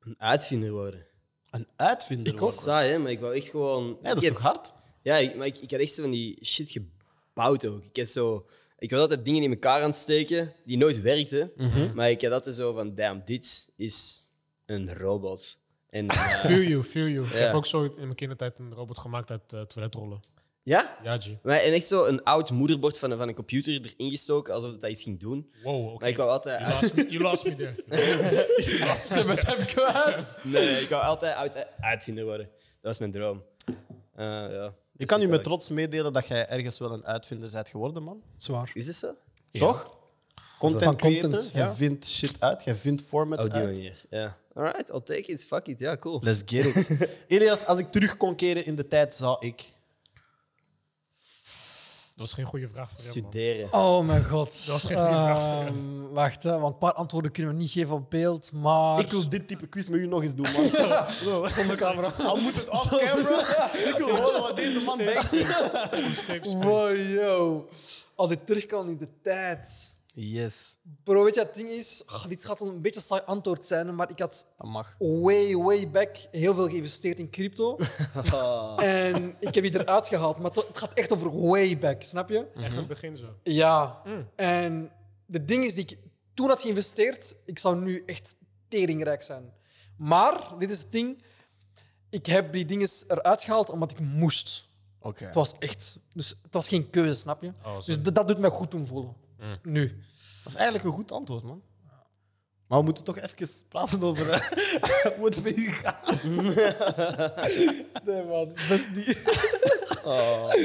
Een uitvinder worden. een uitvinder Dat is worden. saai, hè? Maar ik wou echt gewoon... Nee, dat Ik is heb- toch hard? Ja, ik, maar ik, ik had echt zo van die shit gebouwd ook. Ik, had zo, ik was altijd dingen in elkaar aan het steken die nooit werkten. Maar ik had altijd zo van, damn, dit is een robot. En, eh, Feel you, feel you. Ik Ja. heb ook zo in mijn kindertijd een robot gemaakt uit eh, toiletrollen. ja? Ja, G. Maar, en echt zo een oud moederbord van, een- van een computer erin gestoken, alsof dat iets ging doen. Wow, oké. Maar ik wou altijd... You, lost me, you lost me there. Wat heb ik gehad? Nee, ik wou altijd uit, uitvinder worden. Dat was mijn droom. Eh, ja. Ik kan u met met trots meedelen dat jij ergens wel een uitvinder bent geworden, man. Zwaar. Is dat zo? Toch? Content Van creator, content, jij ja. vindt shit uit, jij vindt formats Op die uit. manier, ja. Alright, I'll take it. Fuck it, ja, cool. Let's get it. Elias, als ik terug kon keren in de tijd, zou ik... Dat was geen goede vraag voor hem, man. Studeren. Oh mijn god. Dat was geen goede vraag eh. voor Ehm, wacht, hè, want een paar antwoorden kunnen we niet geven op beeld, maar... Ik wil dit type quiz met u nog eens doen, man. zonder camera. Al moet het off camera. Ik wil horen wat deze man denkt. Safe space. Wow, yo. Als ik terug kan in de tijd... Yes, Bro, weet je, het ding is... ah, dit gaat een beetje een saai antwoord zijn, maar ik had dat mag. way, way back heel veel geïnvesteerd in crypto. en ik heb die eruit gehaald. Maar het het gaat echt over way back, snap je? Echt in het begin zo. Ja. Hmm. En de ding is, die ik toen had geïnvesteerd, ik zou nu echt teringrijk zijn. Maar, dit is het ding, ik heb die dingen eruit gehaald omdat ik moest. Oké. Oh, Het was echt... Dus het was geen keuze, snap je? sorry. dus dat- dat doet mij goed doen voelen. Hmm. Nu. Dat is eigenlijk een goed antwoord, man. Maar we moeten toch even praten over eh, hoe het met u gaat. Nee, man. Best niet.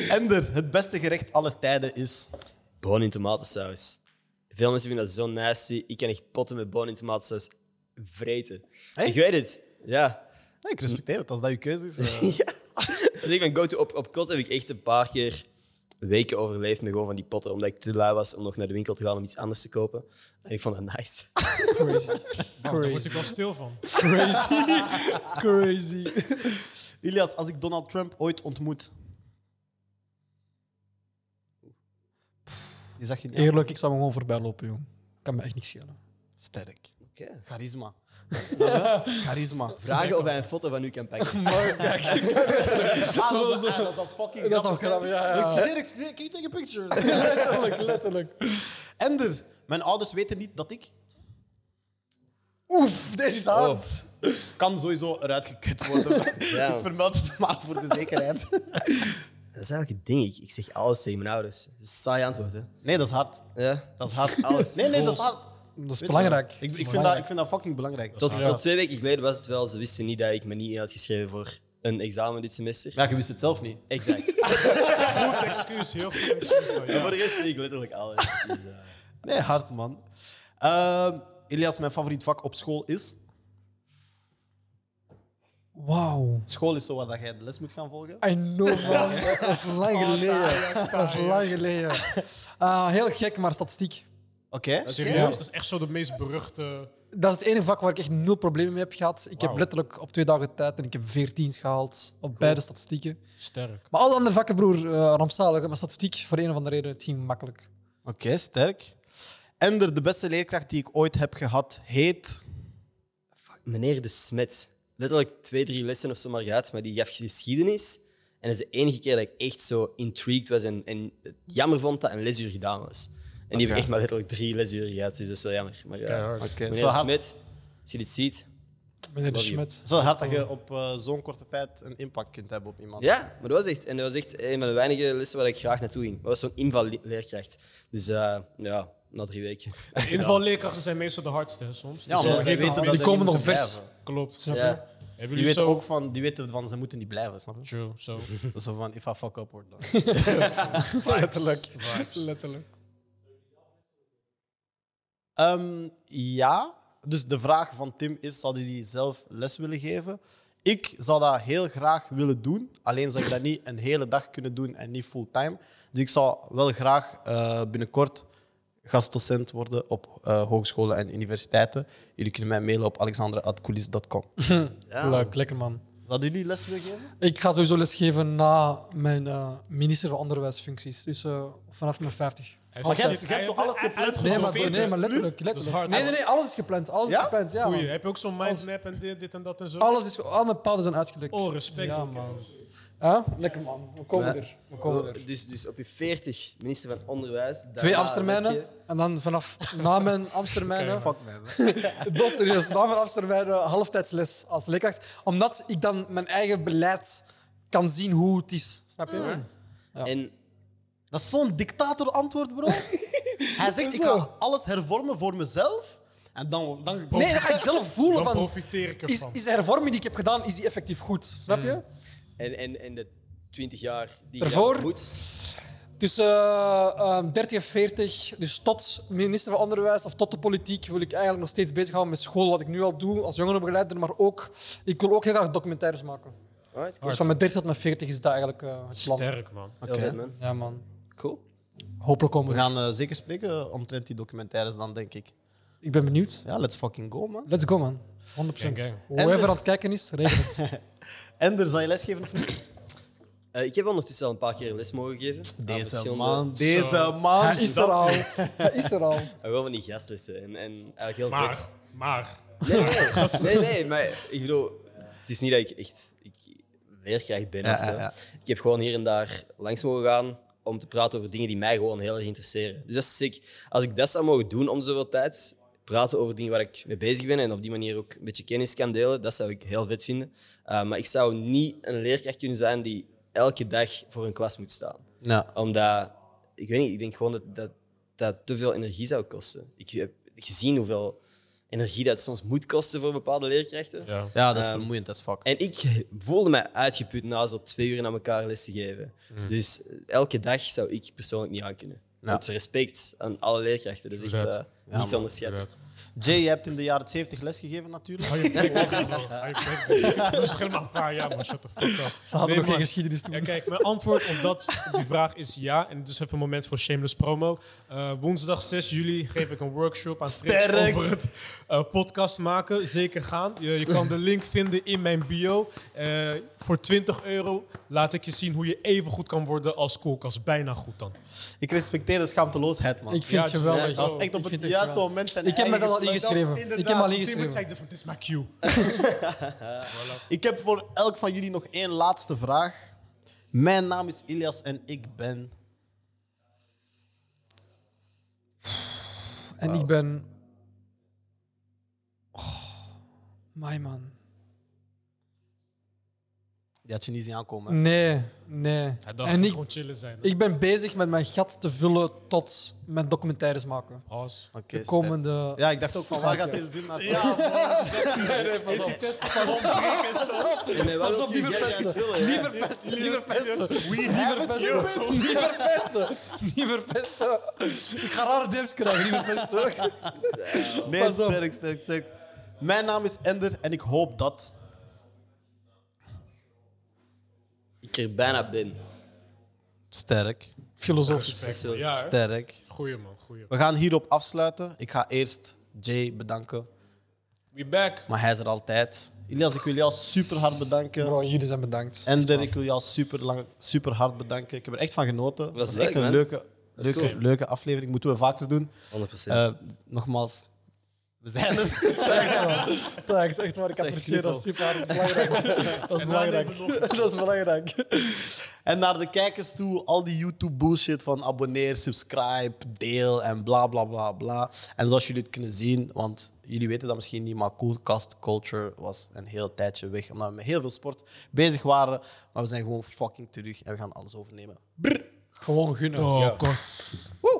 Ender, het beste gerecht aller tijden is... Bonen in tomatensaus. Veel mensen vinden dat zo nasty. Ik kan echt potten met bonen in tomatensaus vreten. Echt? Ik weet het. Ja. Nee, ik respecteer het, als dat uw keuze is. eh. ja. Dus ik ben go-to. Op, op kot heb ik echt een paar keer weken overleefd met gewoon van die potten. Omdat ik te lui was om nog naar de winkel te gaan om iets anders te kopen. En ik vond dat nice. Nou, daar word ik wel stil van. Crazy. Crazy. Ilias, als ik Donald Trump ooit ontmoet... Je zag je niet. Eerlijk, ik zou me gewoon voorbij lopen, jong. Kan me echt niks schelen. Sterk. Oké. Charisma. Charisma. Vragen of hij een foto van u kan pakken. Ah, dat is, ah, dat is al fucking Dat is al grappig, hè? grappig, ja, ja. Excuseer, excuseer. Can you take a picture? letterlijk, letterlijk. Ender, dus, mijn ouders weten niet dat ik... Oef, deze is hard. Kan sowieso eruit gekut worden. Oh. Ja. Ik vermeld het maar voor de zekerheid. Dat is eigenlijk het ding. Ik, ik zeg alles tegen mijn ouders. Dat is een saai antwoord, hè. Nee, dat is hard. Ja. Dat is hard. Alles. Nee, nee, dat is hard. Dat Weet is je, belangrijk. Ik, ik, vind dat, ik Belangrijk. vind dat fucking belangrijk. Tot, tot twee weken geleden was het wel. Ze wisten niet dat ik me niet in had geschreven voor een examen dit semester. Ja, je wist het zelf niet. Exact. Goed excuus, heel goed excuus. dan, En voor Ja. de rest zie ik letterlijk alles. Dus, eh, Nee, hard man. Ehm Elias, mijn favoriet vak op school is. Wauw. School is zo waar dat jij de les moet gaan volgen. I know, man. Dat is lang Oh, geleden. Dat is lang geleden. Ah, heel gek, maar statistiek. Oké. Serieus, Ja. dat is echt zo de meest beruchte... Dat is het enige vak waar ik echt nul problemen mee heb gehad. Ik Wauw. heb letterlijk op twee dagen tijd en ik heb veertiens gehaald op beide statistieken. Sterk. Maar alle andere vakken, broer, eh, rampzalig. hè. Maar statistiek, voor een of andere reden, het ging makkelijk. Oké, sterk. Ender, de beste leerkracht die ik ooit heb gehad, heet... Meneer de Smet. Letterlijk twee, drie lessen of zo maar gehad, maar die gaf geschiedenis. En dat is de enige keer dat ik echt zo intrigued was en, en het jammer vond dat een lesuur gedaan was. En die heb Oké. ik echt maar letterlijk drie lesuren gehad, dus dat is wel jammer. Maar ja, Keihard. Oké, meneer zo, de hard, Smet, als je dit ziet... Meneer de Love you. Schmidt. zo hard dat je op eh, zo'n korte tijd een impact kunt hebben op iemand. Ja, maar dat was echt, en dat was echt een van de weinige lessen waar ik graag naartoe ging. Dat was zo'n invalleerkracht. Dus eh, ja, na drie weken. Dus Invalleerkrachten zijn meestal de hardste, hè, soms. Ja, Dus omdat dat zij weet weten ik dat Die ze komen niet nog moeten vers. blijven. Klopt. Snap je? Ja. Hebben Die jullie weten zo... ook van, die weten van, ze moeten niet blijven, snap je? True, zo. Dat is zo van, if I fuck up, word dan. Letterlijk. Letterlijk. Ehm, ja, dus de vraag van Tim is: zou jullie zelf les willen geven? Ik zou dat heel graag willen doen, alleen zou ik dat niet een hele dag kunnen doen en niet fulltime. Dus ik zou wel graag eh, binnenkort gastdocent worden op eh, hogescholen en universiteiten. Jullie kunnen mij mailen op alexandra.coulis.com. Ja. Leuk, lekker man. Zouden jullie les willen geven? Ik ga sowieso lesgeven na mijn eh, minister van Onderwijsfuncties. Dus eh, vanaf mijn 50. Maar jij hebt- jij hebt zo alles gepland. Nee, maar, nee, maar letterlijk. Dus Dat is letterlijk. hard. Nee, nee, nee, alles is gepland. Alles Ja? is gepland, ja. man. Goeie. Heb je ook zo'n mindmap en dit, dit en dat en zo? Alles is, al mijn paden zijn uitgelukt. Oh, respect. Ja, man. Ja, lekker man. We komen Ja. er. We komen er. Dus, dus op je 40 minister van Onderwijs. Twee daarna Amstermijnen. lesje. En dan vanaf na mijn Amstermijnen. Oké. Dat serieus. Na mijn Amstermijnen halftijdsles als leerkracht. Omdat ik dan mijn eigen beleid kan zien hoe het is. Snap je? Ah. Ja. En Dat is zo'n dictator-antwoord, bro. Hij zegt: ik ga alles hervormen voor mezelf. En dan, dan Nee, dat ga ik zelf Dan voelen. Van, profiteer ik is, ervan. is de hervorming die ik heb gedaan, is die effectief goed? Snap je? En, en, en de 20 jaar die Daarvoor? je moet. Tussen eh, eh, 30 en 40, dus tot minister van Onderwijs of tot de politiek, wil ik eigenlijk nog steeds bezighouden met school, wat ik nu al doe als jongerenbegeleider, maar ook, ik wil ook heel graag documentaires maken. Alright, cool. Dus van mijn 30 tot mijn 40 is dat eigenlijk eh, het plan. Sterk, man. Heel vet, man. Ja, man. Cool. Hopelijk komen We we. gaan eh, zeker spreken omtrent die documentaires dan, denk ik. Ik ben benieuwd. Ja, let's fucking go, man. Let's go, man. 100%. Gang, En gang. dus- Whoever aan het kijken is, regel het. Ender, zal je lesgeven of niet? Eh, ik heb ondertussen al een paar keer les mogen geven. aan verschillende- Zo. man. Hij is er al. Hij is er al. Ah, wel van die gastlessen. En, en eigenlijk heel Maar, vet. maar... Nee, nee, nee, nee, maar ik bedoel, het is niet dat ik echt ik leerkracht ben Ja, of zo. ja, ja. Ik heb gewoon hier en daar langs mogen gaan om te praten over dingen die mij gewoon heel erg interesseren. Dus dat is sick. Als ik dat zou mogen doen om zoveel tijd, praten over dingen waar ik mee bezig ben en op die manier ook een beetje kennis kan delen, dat zou ik heel vet vinden. Uh, maar ik zou niet een leerkracht kunnen zijn die elke dag voor een klas moet staan. Ja. Omdat, ik weet niet, ik denk gewoon dat dat, dat te veel energie zou kosten. Ik heb gezien hoeveel energie dat soms moet kosten voor bepaalde leerkrachten. Ja. ja, Ehm. dat is vermoeiend as fuck. En ik voelde mij uitgeput na zo twee uur aan elkaar les te geven. Hmm. Dus elke dag zou ik persoonlijk niet aankunnen. Ja. Want respect aan alle leerkrachten, dat is echt Inderdaad. eh, Ja, niet man. te onderschatten. Jay, je hebt in de jaren 70 lesgegeven, natuurlijk. Oh, Hou je bek, bro. Hou je bek. Dat is helemaal een paar jaar, maar shut the fuck up. Ze hadden Nee, nog geen maar- geschiedenis toen. Ja, kijk, mijn antwoord op, dat, op die vraag is ja. En dus even een moment voor shameless promo. Eh, woensdag 6 juli geef ik een workshop aan Trix Sterk. over het eh, podcast maken. Zeker gaan. Je, je kan de link vinden in mijn bio. Eh, voor 20 euro laat ik je zien hoe je even goed kan worden als koelkast. Bijna goed dan. Ik respecteer de schaamteloosheid, man. Ik vind het Ja, geweldig. dat is echt Ik op vind het het juiste geweldig. moment zijn Ik heb eigen mezelf al geslacht. ingeschreven. Dat- Ik heb al Op dit moment zei ingeschreven. ik, dit is mijn cue. Ik heb voor elk van jullie nog één laatste vraag. Mijn naam is Ilias en ik ben... En ik ben. Oh, my man. Die had je niet zien aankomen. hè? Nee, nee. Hij dacht, En ik, gewoon chillen zijn. ik ben bezig met mijn gat te vullen tot mijn documentaires maken. Haas. Oké, De sterk. komende. Ja, ik dacht ook van, waar gaat deze zin naartoe? Ja, En mij wel Pas op, natuurlijk liever heel graag pesten. willen, hè. Niet verpesten, niet verpesten. we Niet have a verpesten, niet verpesten, niet verpesten. Ik ga rare DM's krijgen, niet verpesten. Nee, Pas op. sterk, sterk, sterk. Mijn naam is Ender en ik hoop dat... ik er bijna ben. Sterk. Filosofisch. Dus dat is- Ja, hè? Sterk. Goeie man, goeie. We gaan hierop afsluiten. Ik ga eerst Jay bedanken, We back. maar hij is er altijd. Ilias, ik wil jou super hard bedanken. Bro, jullie zijn bedankt. Ender, ik wil jou super, lang, super hard bedanken. Ik heb er echt van genoten. Het leuk, echt een man. leuke, Dat is leuke, cool. leuke aflevering. Moeten we vaker doen. 100%. Eh, nogmaals, we zijn er. Thanks, echt waar. Ik Zeg, apprecieer dat Grifo. super hard. Dat is En dan belangrijk. Dat is belangrijk. hebben we nog een- Dat is belangrijk. En naar de kijkers toe, al die YouTube bullshit van abonneer, subscribe, deel en bla bla bla bla. En zoals jullie het kunnen zien, want jullie weten dat misschien niet, maar Coolcast Culture was een heel tijdje weg. Omdat we met heel veel sport bezig waren. Maar we zijn gewoon fucking terug en we gaan alles overnemen. Gewoon gunnen. Oh, kos. Woe!